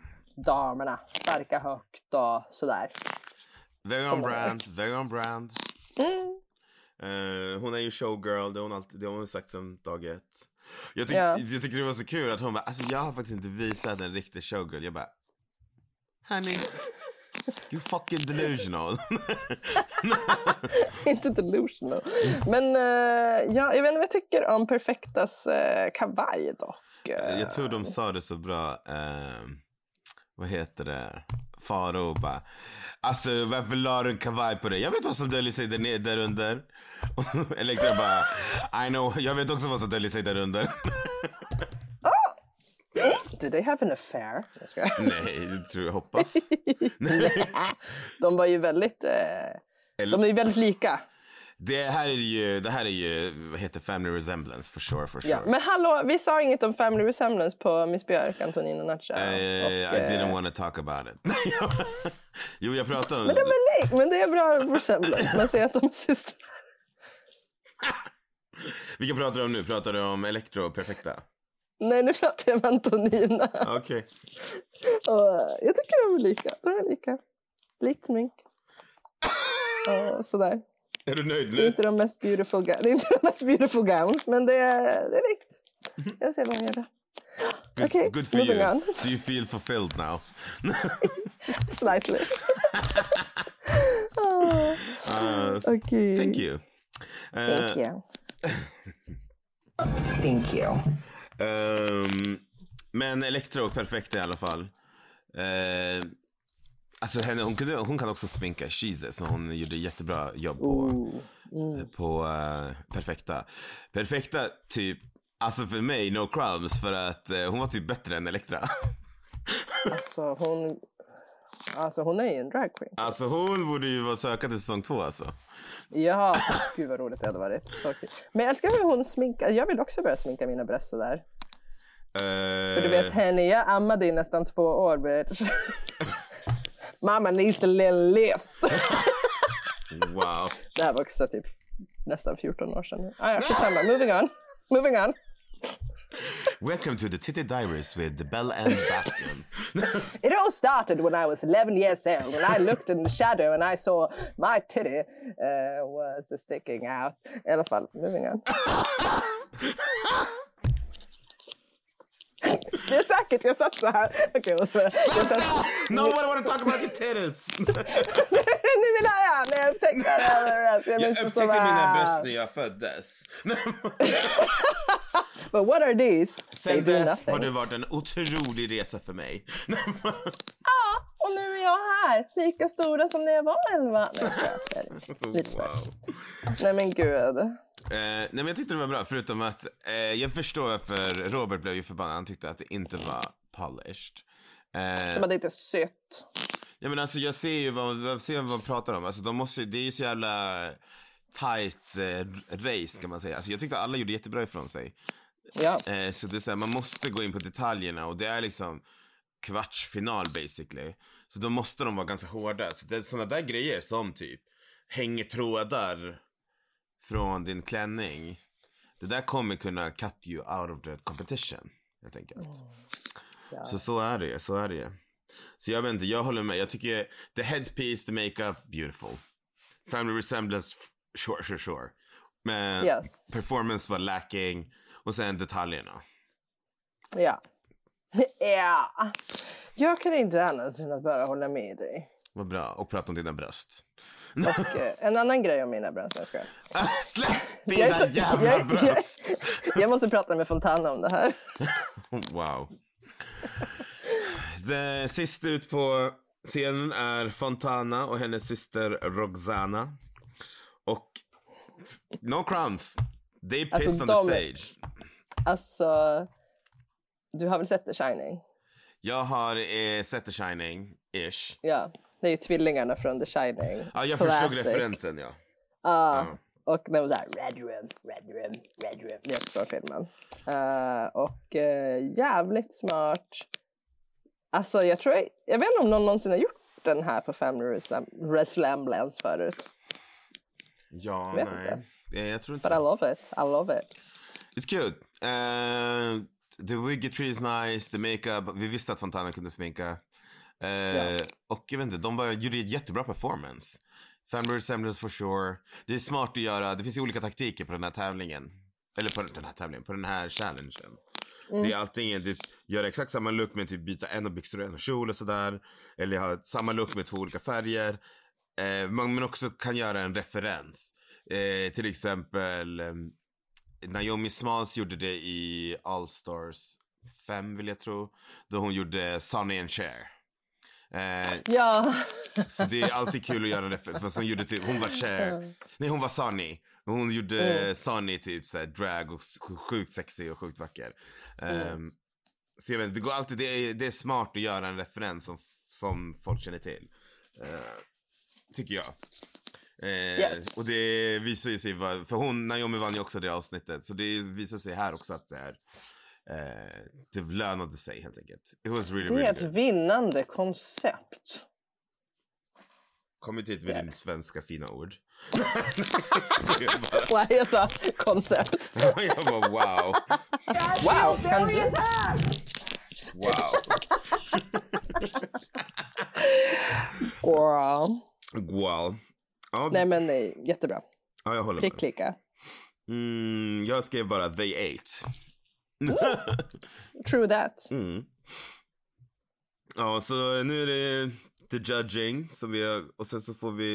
[SPEAKER 1] Damerna. Starka högt och sådär.
[SPEAKER 2] Very on brand, very on brand.
[SPEAKER 1] Mm.
[SPEAKER 2] Eh, hon är ju showgirl, det har hon, alltid, det har hon sagt sedan dag ett. Jag, tyck,
[SPEAKER 1] Ja.
[SPEAKER 2] jag tyckte det var så kul att hon bara, alltså jag har faktiskt inte visat en riktig showgirl. Jag bara, honey, you fucking delusional.
[SPEAKER 1] Inte delusional. Men eh, ja, jag vet inte vad jag tycker om perfektas eh, kavaj dock. Eh,
[SPEAKER 2] jag tror de sa det så bra, ehm, vad heter det, Faro bara, alltså varför la du en kavaj på dig? Jag vet vad som döljer sig där, nere, där under. Och Elektra bara, I know, jag vet också vad som döljer sig där under.
[SPEAKER 1] Did they have an affair? Jag skojar.
[SPEAKER 2] Nej, det tror jag, hoppas.
[SPEAKER 1] De var ju väldigt, eh,
[SPEAKER 2] Eller-
[SPEAKER 1] de är ju väldigt lika.
[SPEAKER 2] Det här är ju, det här är ju, vad heter family resemblance for sure, for sure.
[SPEAKER 1] Ja. Men hallå, vi sa inget om family resemblance på Miss Björk, Antonina Nacha.
[SPEAKER 2] Eh,
[SPEAKER 1] Och,
[SPEAKER 2] I
[SPEAKER 1] eh,
[SPEAKER 2] didn't want to talk about it. jo, jag pratade om
[SPEAKER 1] men, de är lik, men det är bra resemblance. Man ser att de är systrar.
[SPEAKER 2] Vilka pratar du om nu? Pratar du om Electro och Perfekta?
[SPEAKER 1] Nej, nu pratar jag med Antonina.
[SPEAKER 2] Okej.
[SPEAKER 1] Och, eh, jag tycker de är lika. De är lika. Likt smink. Och sådär.
[SPEAKER 2] Är du nöjd
[SPEAKER 1] Det är
[SPEAKER 2] nu?
[SPEAKER 1] inte de mest beautiful, ga- det är inte de mest beautiful gowns, men det är, det är likt. Jag ser vad hon gör där.
[SPEAKER 2] Good,
[SPEAKER 1] okej,
[SPEAKER 2] good for
[SPEAKER 1] moving
[SPEAKER 2] you.
[SPEAKER 1] on.
[SPEAKER 2] Do you feel fulfilled now?
[SPEAKER 1] Slightly. oh,
[SPEAKER 2] Uh,
[SPEAKER 1] okay.
[SPEAKER 2] thank you.
[SPEAKER 1] Thank
[SPEAKER 2] Eh,
[SPEAKER 1] you.
[SPEAKER 6] Thank you.
[SPEAKER 2] ehm, men Electro och Perfekta i alla fall. Eh, Alltså henne, hon, kunde, hon kan också sminka, Jesus, men hon gjorde jättebra jobb på,
[SPEAKER 1] Oh. Mm.
[SPEAKER 2] på eh, Perfekta. Perfekta typ, alltså för mig, no crumbs, för att eh, hon var typ bättre än Elektra.
[SPEAKER 1] Alltså hon... Alltså hon är ju en dragqueen.
[SPEAKER 2] Alltså hon borde ju vara sökande till säsong två alltså.
[SPEAKER 1] Ja, gud vad roligt det hade varit. Så kul. Men jag älskar hur hon sminkar. Jag vill också börja sminka mina bröst sådär. För du
[SPEAKER 2] Eh,
[SPEAKER 1] vet Henny, jag ammade i nästan två år bitch. Mamma needs to little lift.
[SPEAKER 2] Wow.
[SPEAKER 1] Det här var också typ nästan 14 år sedan. Ah, ja, skitsamma. Moving on. Moving on.
[SPEAKER 2] Welcome to the Titty Diaries with Bell and Baskin.
[SPEAKER 1] It all started when I was 11 years old and I looked in the shadow and I saw my titty uh, was sticking out. I alla fall, moving on. Det är säkert, jag satt så här. Okej, jag måste börja. Jag satt...
[SPEAKER 2] Nobody wanna talk about your titties!
[SPEAKER 1] nu vill jag ha när jag upptäckte det överallt. Jag,
[SPEAKER 2] jag
[SPEAKER 1] måste
[SPEAKER 2] upptäckte
[SPEAKER 1] bara-
[SPEAKER 2] mina bröst när jag föddes.
[SPEAKER 1] But what are these? They
[SPEAKER 2] Sen
[SPEAKER 1] do
[SPEAKER 2] dess
[SPEAKER 1] nothing.
[SPEAKER 2] har det varit en otrolig resa för mig.
[SPEAKER 1] Ja, och nu är jag här. Lika stora som när jag var elva. Nej, jag skojar.
[SPEAKER 2] Alltså,
[SPEAKER 1] Lite snack.
[SPEAKER 2] wow.
[SPEAKER 1] Nej men gud.
[SPEAKER 2] Eh, nej men jag tyckte det var bra, förutom att eh, jag förstår varför Robert blev ju förbannad. Han tyckte att det inte var polished. Eh,
[SPEAKER 1] De hade inte sytt.
[SPEAKER 2] Ja men alltså jag ser ju vad, jag ser vad man pratar om. Alltså de måste ju- det är ju så jävla tight eh, race kan man säga. Alltså jag tyckte alla gjorde jättebra ifrån sig.
[SPEAKER 1] Ja.
[SPEAKER 2] Eh, så det är så här, man måste gå in på detaljerna och det är liksom kvartsfinal basically. Så då måste de vara ganska hårda. Så det är sådana där grejer som typ hänger trådar från din klänning. Det där kommer kunna cut you out of the competition helt enkelt. Så så är det, så är det. Så jag vet inte, jag håller med. Jag tycker the headpiece, the makeup, beautiful. Family resemblance, f- sure, sure, sure. Men
[SPEAKER 1] Yes.
[SPEAKER 2] performance var lacking och sen detaljerna.
[SPEAKER 1] Ja. ja. Jag kan inte annat än att bara hålla med dig.
[SPEAKER 2] Vad bra. Och prata om dina bröst.
[SPEAKER 1] Och, eh, en annan grej om mina bröst. Jag, skojar.
[SPEAKER 2] Ah, Släpp
[SPEAKER 1] Jag är
[SPEAKER 2] dina
[SPEAKER 1] så-
[SPEAKER 2] jävla
[SPEAKER 1] jag- jag-
[SPEAKER 2] bröst!
[SPEAKER 1] jag måste prata med Fontana om det här.
[SPEAKER 2] Wow. Det, sist ut på scenen är Fontana och hennes syster Roxana. Och no crowns. They pissed
[SPEAKER 1] Alltså, de-
[SPEAKER 2] on the stage.
[SPEAKER 1] Alltså, du har väl sett The Shining?
[SPEAKER 2] Jag har eh, sett The Shining-ish.
[SPEAKER 1] Ja. Det är ju tvillingarna från The Shining.
[SPEAKER 2] Ja, jag
[SPEAKER 1] Classic.
[SPEAKER 2] förstod referensen ja.
[SPEAKER 1] Ja.
[SPEAKER 2] Ja.
[SPEAKER 1] Och det var såhär, Red Room, Red Room, Red Room. Jättebra filmen. Eh, och eh, jävligt smart. Alltså jag tror, jag vet inte om någon någonsin har gjort den här på Family Resem- Resemblance förut.
[SPEAKER 2] Ja,
[SPEAKER 1] Vet
[SPEAKER 2] nej. Eh, Jag tror
[SPEAKER 1] But I
[SPEAKER 2] inte.
[SPEAKER 1] love it, I love it.
[SPEAKER 2] It's cute. Eh, the wiggetry is nice, the makeup. Vi visste att Fontana kunde sminka. Eh, Och jag vet inte, de bara gjorde ett jättebra performance. Family resemblance for sure. Det är smart att göra, det finns ju olika taktiker på den här tävlingen. Eller på den här tävlingen, på den här challengen. Det är allting, det gör exakt samma look men typ byta en och byxor och en och kjol och sådär. Eller ha samma look med två olika färger. Eh, man, men också kan göra en referens. Eh, till exempel eh, Naomi Smalls gjorde det i All Stars 5 vill jag tro. Då hon gjorde Sonny and Cher. Eh,
[SPEAKER 1] Ja,
[SPEAKER 2] så det är alltid kul att göra en referens. För hon, gjorde typ, hon var Cher. Nej hon var Sonny. Hon gjorde Sonny typ såhär drag och s- sjukt sexig och sjukt vacker. Eh, Så jag vet inte, det går alltid, det är, det är smart att göra en referens som, som folk känner till. Eh, tycker jag. Eh,
[SPEAKER 1] Yes.
[SPEAKER 2] Och det visar ju sig, vad- för hon, Naomi vann ju också det avsnittet. Så det visar sig här också att det är, eh, det lönade sig helt enkelt. It was really,
[SPEAKER 1] det
[SPEAKER 2] really
[SPEAKER 1] är ett
[SPEAKER 2] good.
[SPEAKER 1] vinnande koncept.
[SPEAKER 2] Kommit hit
[SPEAKER 1] Eh.
[SPEAKER 2] med din svenska fina ord.
[SPEAKER 1] Nej, jag sa koncept.
[SPEAKER 2] jag bara wow.
[SPEAKER 1] Wow, kan du...
[SPEAKER 2] Wow.
[SPEAKER 1] Wow.
[SPEAKER 2] Wow. Ja,
[SPEAKER 1] Nej men nej, jättebra.
[SPEAKER 2] ja, jag håller med.
[SPEAKER 1] Prickklicka.
[SPEAKER 2] Mm, jag skrev bara they ate.
[SPEAKER 1] True that.
[SPEAKER 2] Mm. Ja, så nu är det the judging som vi har, och sen så får vi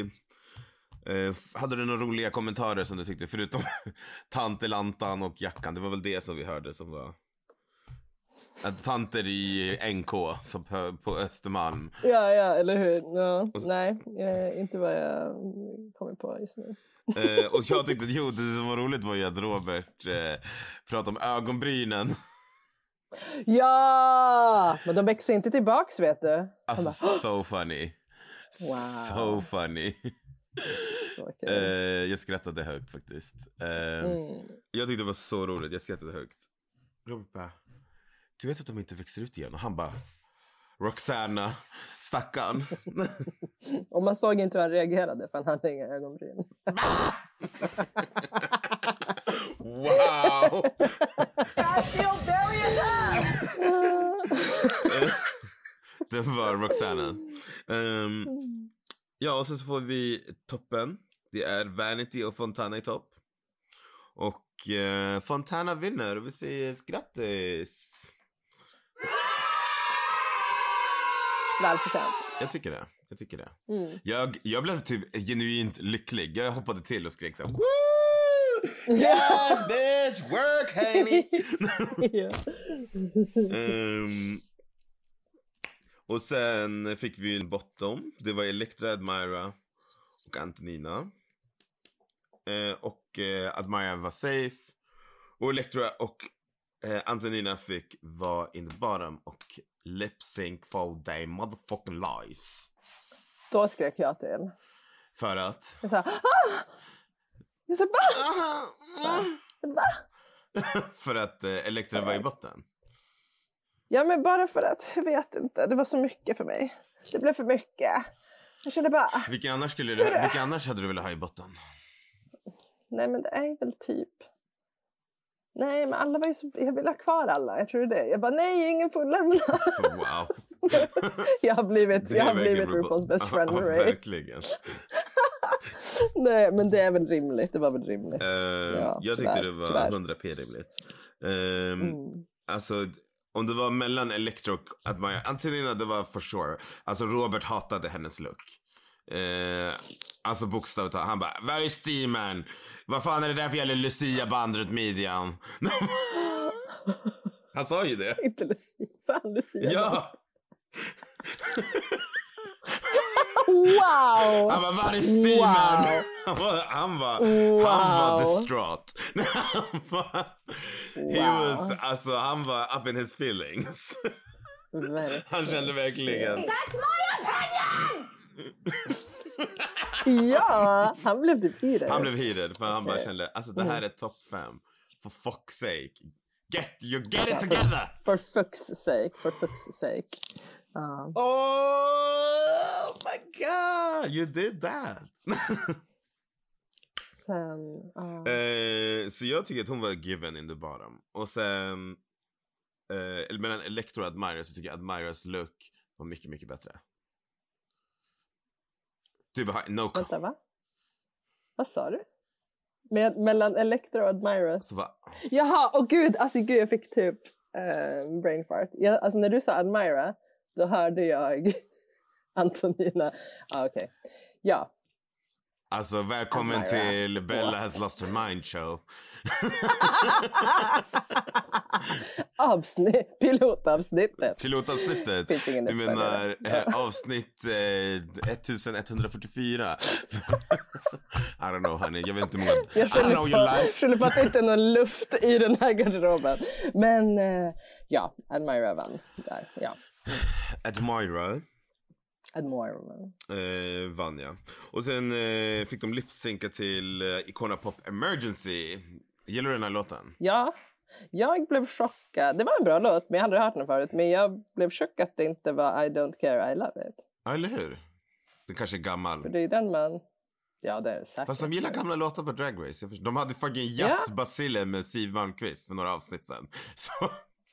[SPEAKER 2] eh, hade du några roliga kommentarer som du tyckte förutom tantelantan och jackan? Det var väl det som vi hörde som var Att Tanter i NK som på, på Östermalm.
[SPEAKER 1] Ja, ja, eller hur? Ja,
[SPEAKER 2] Alltså-
[SPEAKER 1] nej, eh, inte vad jag mm, kommer på just nu.
[SPEAKER 2] Eh, och jag tyckte att jo, det som var roligt var ju att Robert eh, pratade om ögonbrynen.
[SPEAKER 1] Ja! Men de växer inte tillbaks, vet du. Han
[SPEAKER 2] Alltså,
[SPEAKER 1] bara,
[SPEAKER 2] so funny.
[SPEAKER 1] Wow.
[SPEAKER 2] So funny.
[SPEAKER 1] så kul.
[SPEAKER 2] Eh, jag skrattade högt faktiskt. Eh,
[SPEAKER 1] Mm.
[SPEAKER 2] Jag tyckte det var så roligt, jag skrattade högt. Robert bara, du vet att de inte växer ut igen? Och han bara, Roxana, stackarn.
[SPEAKER 1] Och man såg inte hur han reagerade, för han hade inga ögonbryn.
[SPEAKER 2] wow! Det var Roxana. Ehm, ja, och sen så får vi toppen. Det är Vanity och Fontana i topp. Och eh, Fontana vinner och vi säger grattis.
[SPEAKER 1] Välförtjänt.
[SPEAKER 2] Jag tycker det. Jag tycker det.
[SPEAKER 1] Mm.
[SPEAKER 2] Jag, jag blev typ genuint lycklig. Jag hoppade till och skrek så här, Woo! Yes bitch, work Haney!
[SPEAKER 1] Ja.
[SPEAKER 2] Ehm, och sen fick vi en bottom. Det var Elektra, Admira och Antonina. Eh, och eh, Admira var safe. Och Elektra och eh, Antonina fick vara in the bottom och lip sync for they motherfucking lies.
[SPEAKER 1] Då skrek jag till.
[SPEAKER 2] För att...
[SPEAKER 1] Jag sa ah! Jag sa va? Va?
[SPEAKER 2] för att eh, Elektra var i botten.
[SPEAKER 1] Ja, men bara för att jag vet inte. Det var så mycket för mig. Det blev för mycket. Jag kände bara, ah,
[SPEAKER 2] Vilka annars, skulle du, vilka annars hade du velat ha i botten?
[SPEAKER 1] nej men det är väl typ. Nej, men alla var ju så... Jag ville ha kvar alla. Jag tror det. Jag bara, nej, ingen får lämna.
[SPEAKER 2] Så, wow.
[SPEAKER 1] Jag har blivit,
[SPEAKER 2] Det
[SPEAKER 1] jag
[SPEAKER 2] är
[SPEAKER 1] har
[SPEAKER 2] verkligen
[SPEAKER 1] blivit RuPaul's best friend
[SPEAKER 2] ja,
[SPEAKER 1] race.
[SPEAKER 2] verkligen.
[SPEAKER 1] Nej, men det är väl rimligt. Det var väl rimligt.
[SPEAKER 2] Eh,
[SPEAKER 1] Ja,
[SPEAKER 2] jag tyckte
[SPEAKER 1] tyvärr,
[SPEAKER 2] det var
[SPEAKER 1] tyvärr.
[SPEAKER 2] 100p rimligt. Ehm,
[SPEAKER 1] Mm.
[SPEAKER 2] Alltså, om det var mellan Electro och Admira. Antonina, det var for sure. Alltså, Robert hatade hennes look. Eh, alltså bokstavligt talat. Han bara, “Where is steamern? Vad fan är det där för jävla Lucia-band runt midjan?” Han sa ju det.
[SPEAKER 1] Inte Lucia. Fan, Lucia.
[SPEAKER 2] Ja!
[SPEAKER 1] Wow!
[SPEAKER 2] Han bara, “Var är steamern?”
[SPEAKER 1] Wow.
[SPEAKER 2] Han var, han var,
[SPEAKER 1] Wow.
[SPEAKER 2] han var distraught. han var, he
[SPEAKER 1] Wow.
[SPEAKER 2] was, alltså, han var up in his feelings.
[SPEAKER 1] Verkligen.
[SPEAKER 2] Han kände verkligen.
[SPEAKER 1] Ja, han blev typ i det.
[SPEAKER 2] Han blev heated för han bara
[SPEAKER 1] Okej.
[SPEAKER 2] kände alltså det här
[SPEAKER 1] mm.
[SPEAKER 2] är top 5. For fuck's sake. Get you get it together!
[SPEAKER 1] For fuck's sake, for fuck's sake. Ja.
[SPEAKER 2] Oh my god! You did that!
[SPEAKER 1] sen, ja. Mm.
[SPEAKER 2] eh, så jag tycker att hon var given in the bottom. Och sen eh, eller mellan Electro och Admira så tycker jag Admiras look var mycket, mycket bättre. Typ ha- no
[SPEAKER 1] Vänta, va? Vad sa du? Med, mellan Elektra och Admira?
[SPEAKER 2] så Alltså, va?
[SPEAKER 1] Jaha, åh gud, alltså gud jag fick typ eh, brain fart. Jag, alltså när du sa Admira, då hörde jag Antonina. Ah, okej. Ja,
[SPEAKER 2] Alltså välkommen
[SPEAKER 1] Admira.
[SPEAKER 2] till Bella has lost her mind show.
[SPEAKER 1] avsnitt, pilotavsnittet.
[SPEAKER 2] Pilotavsnittet?
[SPEAKER 1] Finns ingen
[SPEAKER 2] Du menar
[SPEAKER 1] uppföljare.
[SPEAKER 2] eh, avsnitt eh, 1144? I don't know honey, jag vet inte hur många... I
[SPEAKER 1] Jag
[SPEAKER 2] don't
[SPEAKER 1] skyller
[SPEAKER 2] know your
[SPEAKER 1] på,
[SPEAKER 2] life.
[SPEAKER 1] skyller på att det inte är någon luft i den här garderoben. Men eh, ja, Admira vann där. Ja,
[SPEAKER 2] Admira
[SPEAKER 1] Admira vann.
[SPEAKER 2] eh, vann jag. Och sen eh, fick de lipsynka till eh, Icona Pop Emergency. Gillar du den här låten?
[SPEAKER 1] Ja, jag blev chockad. Det var en bra låt, men jag hade aldrig hört den förut. Men jag blev chockad att det inte var I don't care, I love it.
[SPEAKER 2] Ja, eller hur? Den kanske är gammal.
[SPEAKER 1] För det är ju den man... Ja, det är det säkert.
[SPEAKER 2] Fast de gillar gamla låtar på Drag Race. Jag förstår- De hade fucking jazzbasilen med Siw Malmkvist för några avsnitt sen. Så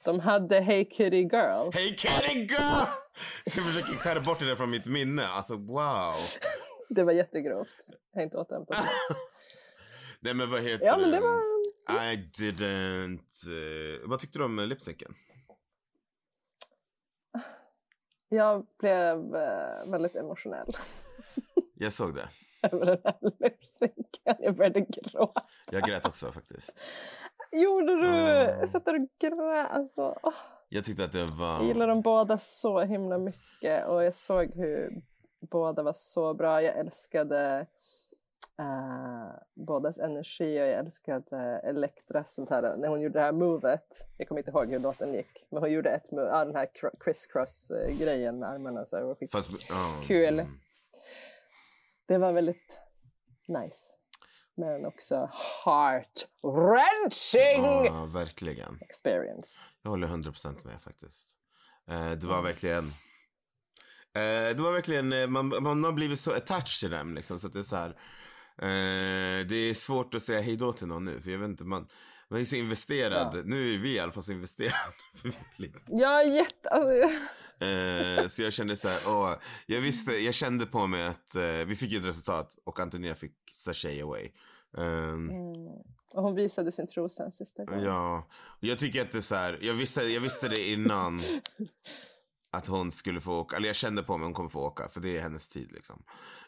[SPEAKER 1] De hade Hey Kitty Girl.
[SPEAKER 2] Hey Kitty girl! Så jag försöker skära bort det där från mitt minne. Alltså wow.
[SPEAKER 1] Det var jättegrovt. Jag har inte återhämtat mig.
[SPEAKER 2] Nej men vad heter
[SPEAKER 1] Ja, men det
[SPEAKER 2] den?
[SPEAKER 1] var...
[SPEAKER 2] I didn't... eh, vad tyckte du om eh, lipsynken?
[SPEAKER 1] Jag blev eh, väldigt emotionell
[SPEAKER 2] Jag såg det.
[SPEAKER 1] över den här lipsynken. Jag började gråta.
[SPEAKER 2] Jag grät också faktiskt.
[SPEAKER 1] Gjorde du?
[SPEAKER 2] Mm.
[SPEAKER 1] Jag satt där och grät. Alltså, åh.
[SPEAKER 2] Jag tyckte att det var...
[SPEAKER 1] Jag gillar dem båda så himla mycket och jag såg hur båda var så bra. Jag älskade eh, bådas energi och jag älskade Elektras sånt här, när hon gjorde det här movet. Jag kommer inte ihåg hur låten gick, men hon gjorde ett move, ah, den här cr- crisscross eh, grejen med armarna. Så det var skit-
[SPEAKER 2] Fast, ja.
[SPEAKER 1] Kul. Det var väldigt nice. Men också heart wrenching
[SPEAKER 2] Ja, verkligen.
[SPEAKER 1] experience.
[SPEAKER 2] Jag håller 100% med faktiskt. Eh, det var verkligen... Eh, det var verkligen, eh, man, man har blivit så attached till dem liksom så att det är så här. Eh, det är svårt att säga hejdå till någon nu för jag vet inte, man, man är så investerad. Nu är vi i alla fall så investerade. för vi är lite-
[SPEAKER 1] Jag är jätte... Alltså,
[SPEAKER 2] Eh, så jag kände så här, åh, jag visste, jag kände på mig att eh, vi fick ju ett resultat och Antonia fick Sashay away. Ehm,
[SPEAKER 1] Mm. Och hon visade sin trosa en sista gång.
[SPEAKER 2] Ja, jag tycker att det är så här, jag visste, jag visste det innan att hon skulle få åka, eller jag kände på mig att hon kommer få åka för det är hennes tid liksom.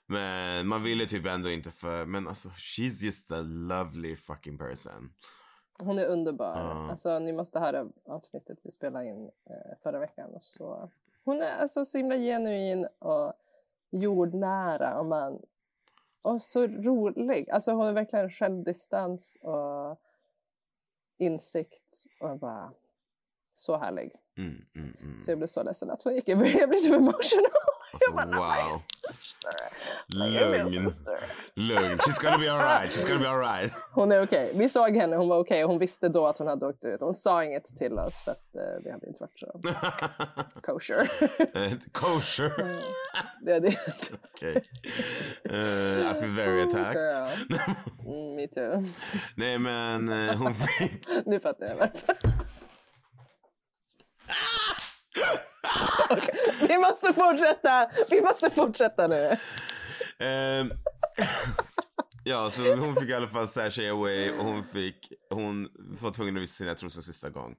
[SPEAKER 2] Men man ville typ ändå inte för, men alltså she's just a lovely fucking person.
[SPEAKER 1] Hon är underbar.
[SPEAKER 2] Ja.
[SPEAKER 1] Alltså, ni måste höra avsnittet vi spelade in eh, förra veckan. Och så. Hon är alltså så himla genuin och jordnära. Och, man... och så rolig. Alltså, hon har verkligen självdistans och insikt. Och bara så härlig.
[SPEAKER 2] Mm, mm, mm.
[SPEAKER 1] Så jag blev så ledsen att hon gick. Jag blev jag blev typ emotional.
[SPEAKER 2] Alltså,
[SPEAKER 1] jag bara,
[SPEAKER 2] wow.
[SPEAKER 1] "You're my
[SPEAKER 2] Lugn,
[SPEAKER 1] sister."
[SPEAKER 2] lugn. She's gonna be alright, she's gonna be alright.
[SPEAKER 1] Hon är okej. Vi såg henne, hon var okej. och Hon visste då att hon hade åkt ut. Hon sa inget till oss för att eh, vi hade inte varit så kosher.
[SPEAKER 2] Eh,
[SPEAKER 1] Mm.
[SPEAKER 2] Kosher.
[SPEAKER 1] det, det.
[SPEAKER 2] Okej. Eh, I feel very attacked.
[SPEAKER 1] Oh, Girl. Mm, me too.
[SPEAKER 2] Nej men eh, hon fick
[SPEAKER 1] Nu fattar jag varför. Okej, Vi måste fortsätta! Vi måste fortsätta nu.
[SPEAKER 2] Ehm, ja, så hon fick i alla fall sashay away och hon fick, hon var tvungen att visa sina trosor sista gång.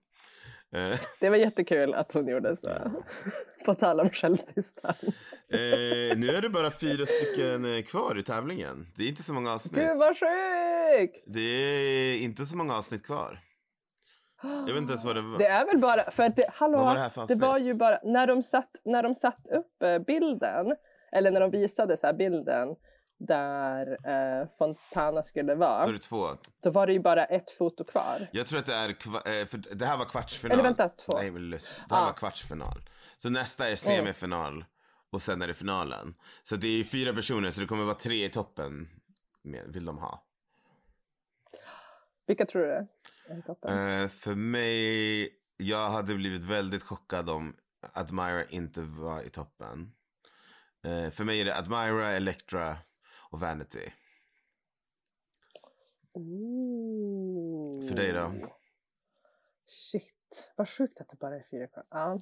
[SPEAKER 2] Eh,
[SPEAKER 1] Det var jättekul att hon gjorde så. På tal om självdistans.
[SPEAKER 2] eh, nu är det bara fyra stycken eh, kvar i tävlingen. Det är inte så många avsnitt.
[SPEAKER 1] Gud vad sjukt!
[SPEAKER 2] Det är inte så många avsnitt kvar. Jag vet inte ens vad det var.
[SPEAKER 1] Det är väl bara för att det, hallå,
[SPEAKER 2] Vad var det här för avsnitt?
[SPEAKER 1] var ju bara när de satt, när de satt upp eh, bilden eller när de visade så här bilden där eh, Fontana skulle
[SPEAKER 2] Då är
[SPEAKER 1] vara.
[SPEAKER 2] det två.
[SPEAKER 1] Då var det ju bara ett foto kvar.
[SPEAKER 2] Jag tror att det är, kva- eh, för det här var kvartsfinal.
[SPEAKER 1] Eller vänta, två.
[SPEAKER 2] Nej, men lust. Det här
[SPEAKER 1] Ah.
[SPEAKER 2] var kvartsfinal. Så nästa är semifinal och sen är det finalen. Så det är fyra personer så det kommer vara tre i toppen. med- Vill de ha.
[SPEAKER 1] Vilka tror du? är i toppen?
[SPEAKER 2] Eh, för mig, jag hade blivit väldigt chockad om Admira inte var i toppen. Eh, för mig är det Admira, Electra och Vanity.
[SPEAKER 1] Ooh.
[SPEAKER 2] För dig då?
[SPEAKER 1] Shit, vad sjukt att det bara är fyra kvar. Ja.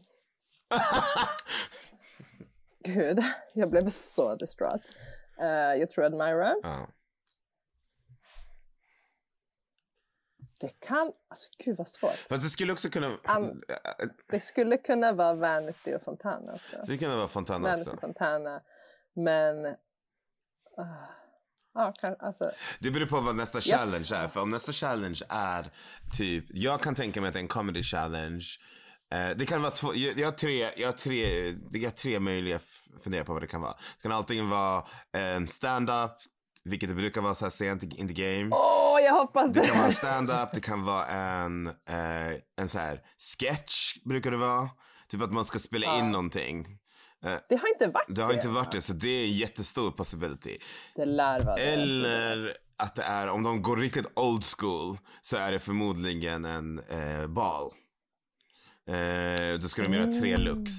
[SPEAKER 1] Gud, jag blev så distraught. Eh, jag tror Admira.
[SPEAKER 2] Ja.
[SPEAKER 1] Det kan, alltså gud vad svårt.
[SPEAKER 2] Fast det skulle också kunna...
[SPEAKER 1] Am-
[SPEAKER 2] eh,
[SPEAKER 1] Det skulle kunna vara Vanity och Fontana också.
[SPEAKER 2] det kunde vara Fontana
[SPEAKER 1] Vanity
[SPEAKER 2] också.
[SPEAKER 1] och Fontana. Men... ah, ja, kan, alltså,
[SPEAKER 2] Det beror på vad nästa
[SPEAKER 1] Ja.
[SPEAKER 2] challenge är. För om nästa challenge är typ, jag kan tänka mig att det är en comedy challenge. Eh, det kan vara två, jag, jag har tre, jag har tre, jag har tre möjliga f- fundera på vad det kan vara. Det kan antingen vara en stand-up, vilket det brukar vara så här sent i- in the game.
[SPEAKER 1] åh, jag hoppas det!
[SPEAKER 2] Det kan vara en stand-up, det kan vara en, eh, en så här sketch brukar det vara. Typ att man ska spela in någonting.
[SPEAKER 1] Det har inte varit
[SPEAKER 2] Det har inte varit det, så det är en jättestor possibility.
[SPEAKER 1] Det lär vara det.
[SPEAKER 2] Eller att det är, om de går riktigt old school, så är det förmodligen en eh, bal. Eh, då ska de göra
[SPEAKER 1] Mm.
[SPEAKER 2] tre looks.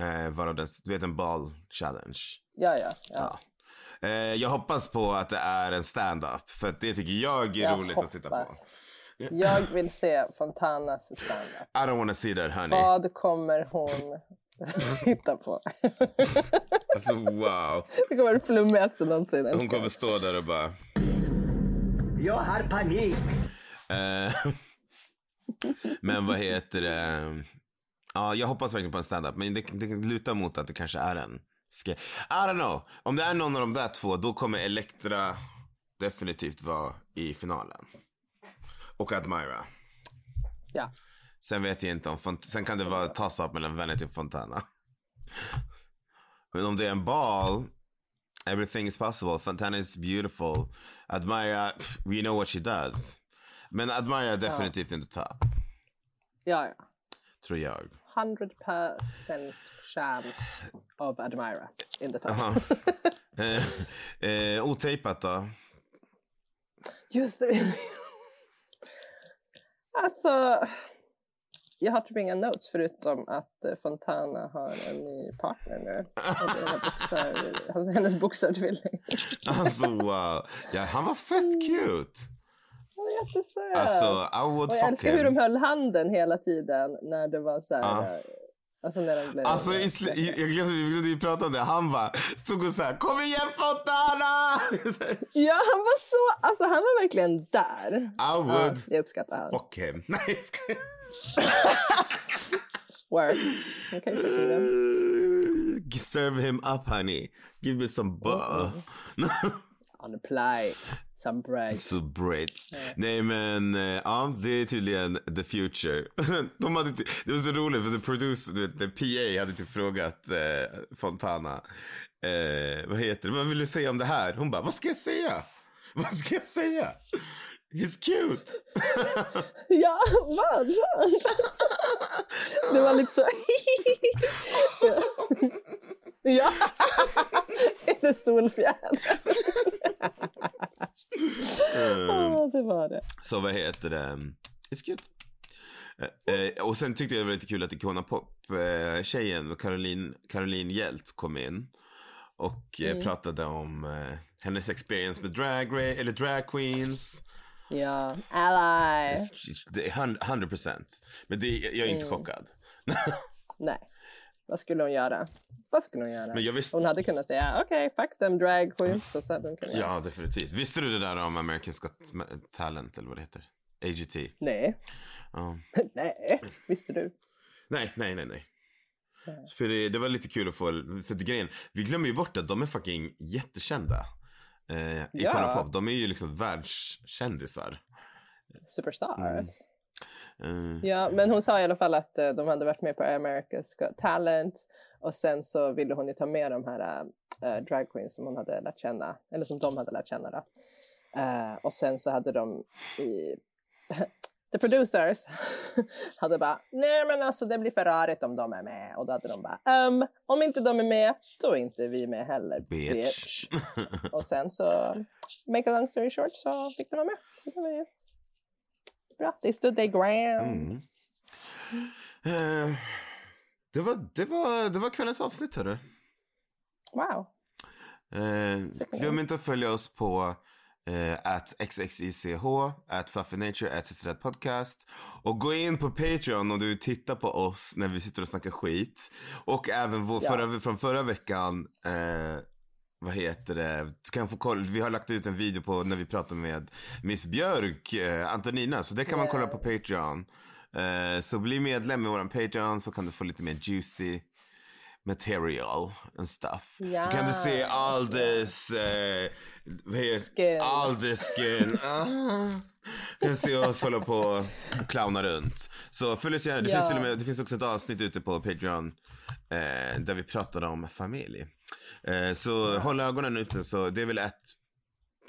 [SPEAKER 2] Eh, varav den, du vet en bal challenge.
[SPEAKER 1] Ja, ja. ja.
[SPEAKER 2] Ja. Eh, jag hoppas på att det är en stand-up, för att det tycker jag är
[SPEAKER 1] Jag
[SPEAKER 2] roligt att titta på.
[SPEAKER 1] hoppas. Jag vill se Fontanas standup.
[SPEAKER 2] I don't wanna see that honey.
[SPEAKER 1] Vad kommer hon hitta på?
[SPEAKER 2] Alltså wow.
[SPEAKER 1] det kommer vara det flummigaste någonsin.
[SPEAKER 2] Hon kommer stå där och bara...
[SPEAKER 7] Jag har panik.
[SPEAKER 2] Eh, men vad heter det? Ja, jag hoppas verkligen på en stand-up. Men det, det lutar mot att det kanske är en. Ska, I don't know. Om det är någon av de där två, då kommer Elektra definitivt vara i finalen. Och Admira.
[SPEAKER 1] Ja.
[SPEAKER 2] Sen vet jag inte om, Font- sen kan det vara toss up mellan Vanity och Fontana. Men om det är en ball, everything is possible. Fontana is beautiful. Admira, pff, we know what she does. Men Admira är definitivt inte topp,
[SPEAKER 1] Ja, ja.
[SPEAKER 2] tror jag.
[SPEAKER 1] 100% chance of Admira in the top.
[SPEAKER 2] Aha. eh, eh, otejpat då?
[SPEAKER 1] Just det. alltså, jag har typ inga notes förutom att eh, Fontana har en ny partner nu. Och det är boxar, alltså hennes boxartvilling.
[SPEAKER 2] Alltså wow. Ja, han
[SPEAKER 1] Mm.
[SPEAKER 2] var fett cute.
[SPEAKER 1] Hon är jättesöt.
[SPEAKER 2] Alltså I would
[SPEAKER 1] och jag
[SPEAKER 2] fuck
[SPEAKER 1] älskar hur
[SPEAKER 2] him.
[SPEAKER 1] de höll handen hela tiden när det var så här.
[SPEAKER 2] Ja.
[SPEAKER 1] eh, Alltså när de blev...
[SPEAKER 2] Alltså i, sl- i, jag glömde, vi glömde ju prata om det. Han bara stod och så här, kom igen Fontana!
[SPEAKER 1] Ja, han var så... Alltså han var verkligen där.
[SPEAKER 2] I
[SPEAKER 1] Ja,
[SPEAKER 2] would
[SPEAKER 1] jag uppskattar han.
[SPEAKER 2] fuck him. Nej jag skojar.
[SPEAKER 1] Work. Okej, okay, den.
[SPEAKER 2] Serve him up honey. Give me some butter.
[SPEAKER 1] On the play. Some break.
[SPEAKER 2] Så Brits. Nej men, eh, ja det är tydligen the future. De hade ty- det var så roligt för the producer, du vet, the PA hade typ frågat eh, Fontana. Eh, vad heter det? Vad vill du säga om det här? Hon bara, vad ska jag säga? Vad ska jag säga? He's cute.
[SPEAKER 1] Ja, vad skönt! Det var lite så... Ja, är det solfjäder?
[SPEAKER 2] Eh,
[SPEAKER 1] Ja, det var det.
[SPEAKER 2] så vad heter det? He's cute. Eh, eh, och sen tyckte jag det var lite kul att Icona Pop-tjejen, eh, Caroline, Caroline Hjält, kom in. Och eh, pratade om eh, hennes experience med drag, ra- eller drag queens.
[SPEAKER 1] Ja, ally.
[SPEAKER 2] Det är hun- 100%. Men det, jag är inte chockad.
[SPEAKER 1] Nej, vad skulle hon göra? Vad skulle hon göra?
[SPEAKER 2] Men jag visste-
[SPEAKER 1] Hon hade kunnat säga okej, fuck them drag queens. Och så hade hon kunnat göra.
[SPEAKER 2] Ja, definitivt. Visste du det där om American Got Talent eller vad det heter? AGT.
[SPEAKER 1] Nej,
[SPEAKER 2] Ja.
[SPEAKER 1] nej, visste du?
[SPEAKER 2] Nej, nej, nej, nej. För det, det var lite kul att få, för att grejen, vi glömmer ju bort att de är fucking jättekända. Eh, Icona Pop, de är ju liksom världskändisar.
[SPEAKER 1] Superstars.
[SPEAKER 2] Eh,
[SPEAKER 1] Ja, men hon sa i alla fall att eh, de hade varit med på America's Got Talent och sen så ville hon ju ta med de här äh, drag queens som hon hade lärt känna, eller som de hade lärt känna då. Eh, och sen så hade de i The producers hade bara, nej men alltså det blir för rörigt om de är med. Och då hade de bara, "Ehm, om inte de är med, då är inte vi med heller,
[SPEAKER 2] Bitch.
[SPEAKER 1] bitch. och sen så, make a long story short, så fick de vara med. Så det var ju bra. They stood their ground.
[SPEAKER 2] Mm. Eh, det, var, det, var, det var kvällens avsnitt, hörru.
[SPEAKER 1] Wow.
[SPEAKER 2] Eh, glöm inte att följa oss på eh, at xxich, at fuffynature, at Cicerad podcast. Och gå in på Patreon om du vill titta på oss när vi sitter och snackar skit. Och även vår
[SPEAKER 1] Ja.
[SPEAKER 2] förra, från förra veckan, eh, vad heter det, du kan få kolla, vi har lagt ut en video på när vi pratar med Miss Björk, eh, Antonina, så det kan man kolla på Patreon. Eh, så bli medlem i våran Patreon så kan du få lite mer juicy material and stuff.
[SPEAKER 1] Ja.
[SPEAKER 2] Då kan du se all this... Eh, vad heter-
[SPEAKER 1] Skin.
[SPEAKER 2] All this skin. Ah. Du kan se oss hålla på och clowna runt. Så följ oss gärna. Det,
[SPEAKER 1] Ja.
[SPEAKER 2] finns till och med, det finns också ett avsnitt ute på Patreon eh, där vi pratade om familj. Eh, så håll ögonen ute. Så det är väl ett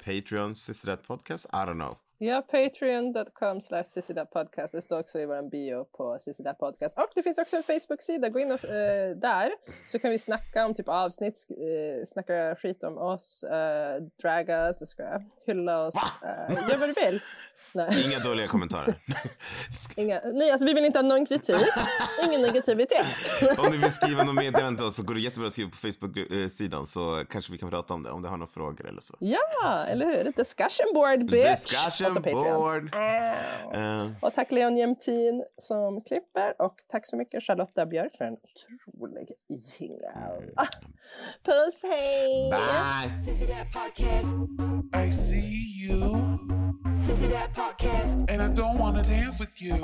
[SPEAKER 2] Patreon, sista rätt podcast? I don't know.
[SPEAKER 1] Ja, patreon.com slash podcast. Det står också i vår bio på Sissidap podcast. Och det finns också en Facebook-sida. Gå in och, eh, där så kan vi snacka om typ avsnitt, sk- eh, snacka skit om oss, eh, draga oss, ska jag, hylla oss, eh, gör vad du vill. Nej,
[SPEAKER 2] Inga dåliga kommentarer.
[SPEAKER 1] inga, nej, alltså vi vill inte ha någon kritik, ingen negativitet.
[SPEAKER 2] Om ni vill skriva något meddelande till oss så går det jättebra att skriva på Facebook-sidan så kanske vi kan prata om det om du har några frågor eller så.
[SPEAKER 1] ja, eller hur? Discussion board, bitch! Och så
[SPEAKER 2] Discussion
[SPEAKER 1] Patreon.
[SPEAKER 2] board. Eh,
[SPEAKER 1] Och tack Leon Jämtin som klipper och tack så mycket Charlotta Björk för en otrolig jingel. Ah, Puss, hej!
[SPEAKER 2] bye!
[SPEAKER 5] Sissy That Podcast.
[SPEAKER 4] I see you,
[SPEAKER 5] Sissy That Podcast.
[SPEAKER 4] and I don't wanna dance with you.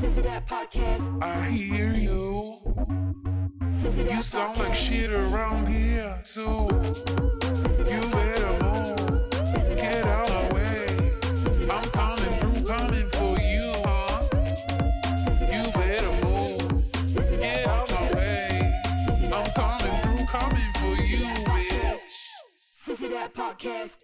[SPEAKER 5] Sissy That Podcast.
[SPEAKER 4] I hear you.
[SPEAKER 5] Sissy That
[SPEAKER 4] You sound like
[SPEAKER 5] Podcast.
[SPEAKER 4] shit around here too. You better move, get out of the way. I'm coming through, coming for you, huh?
[SPEAKER 5] Podcast.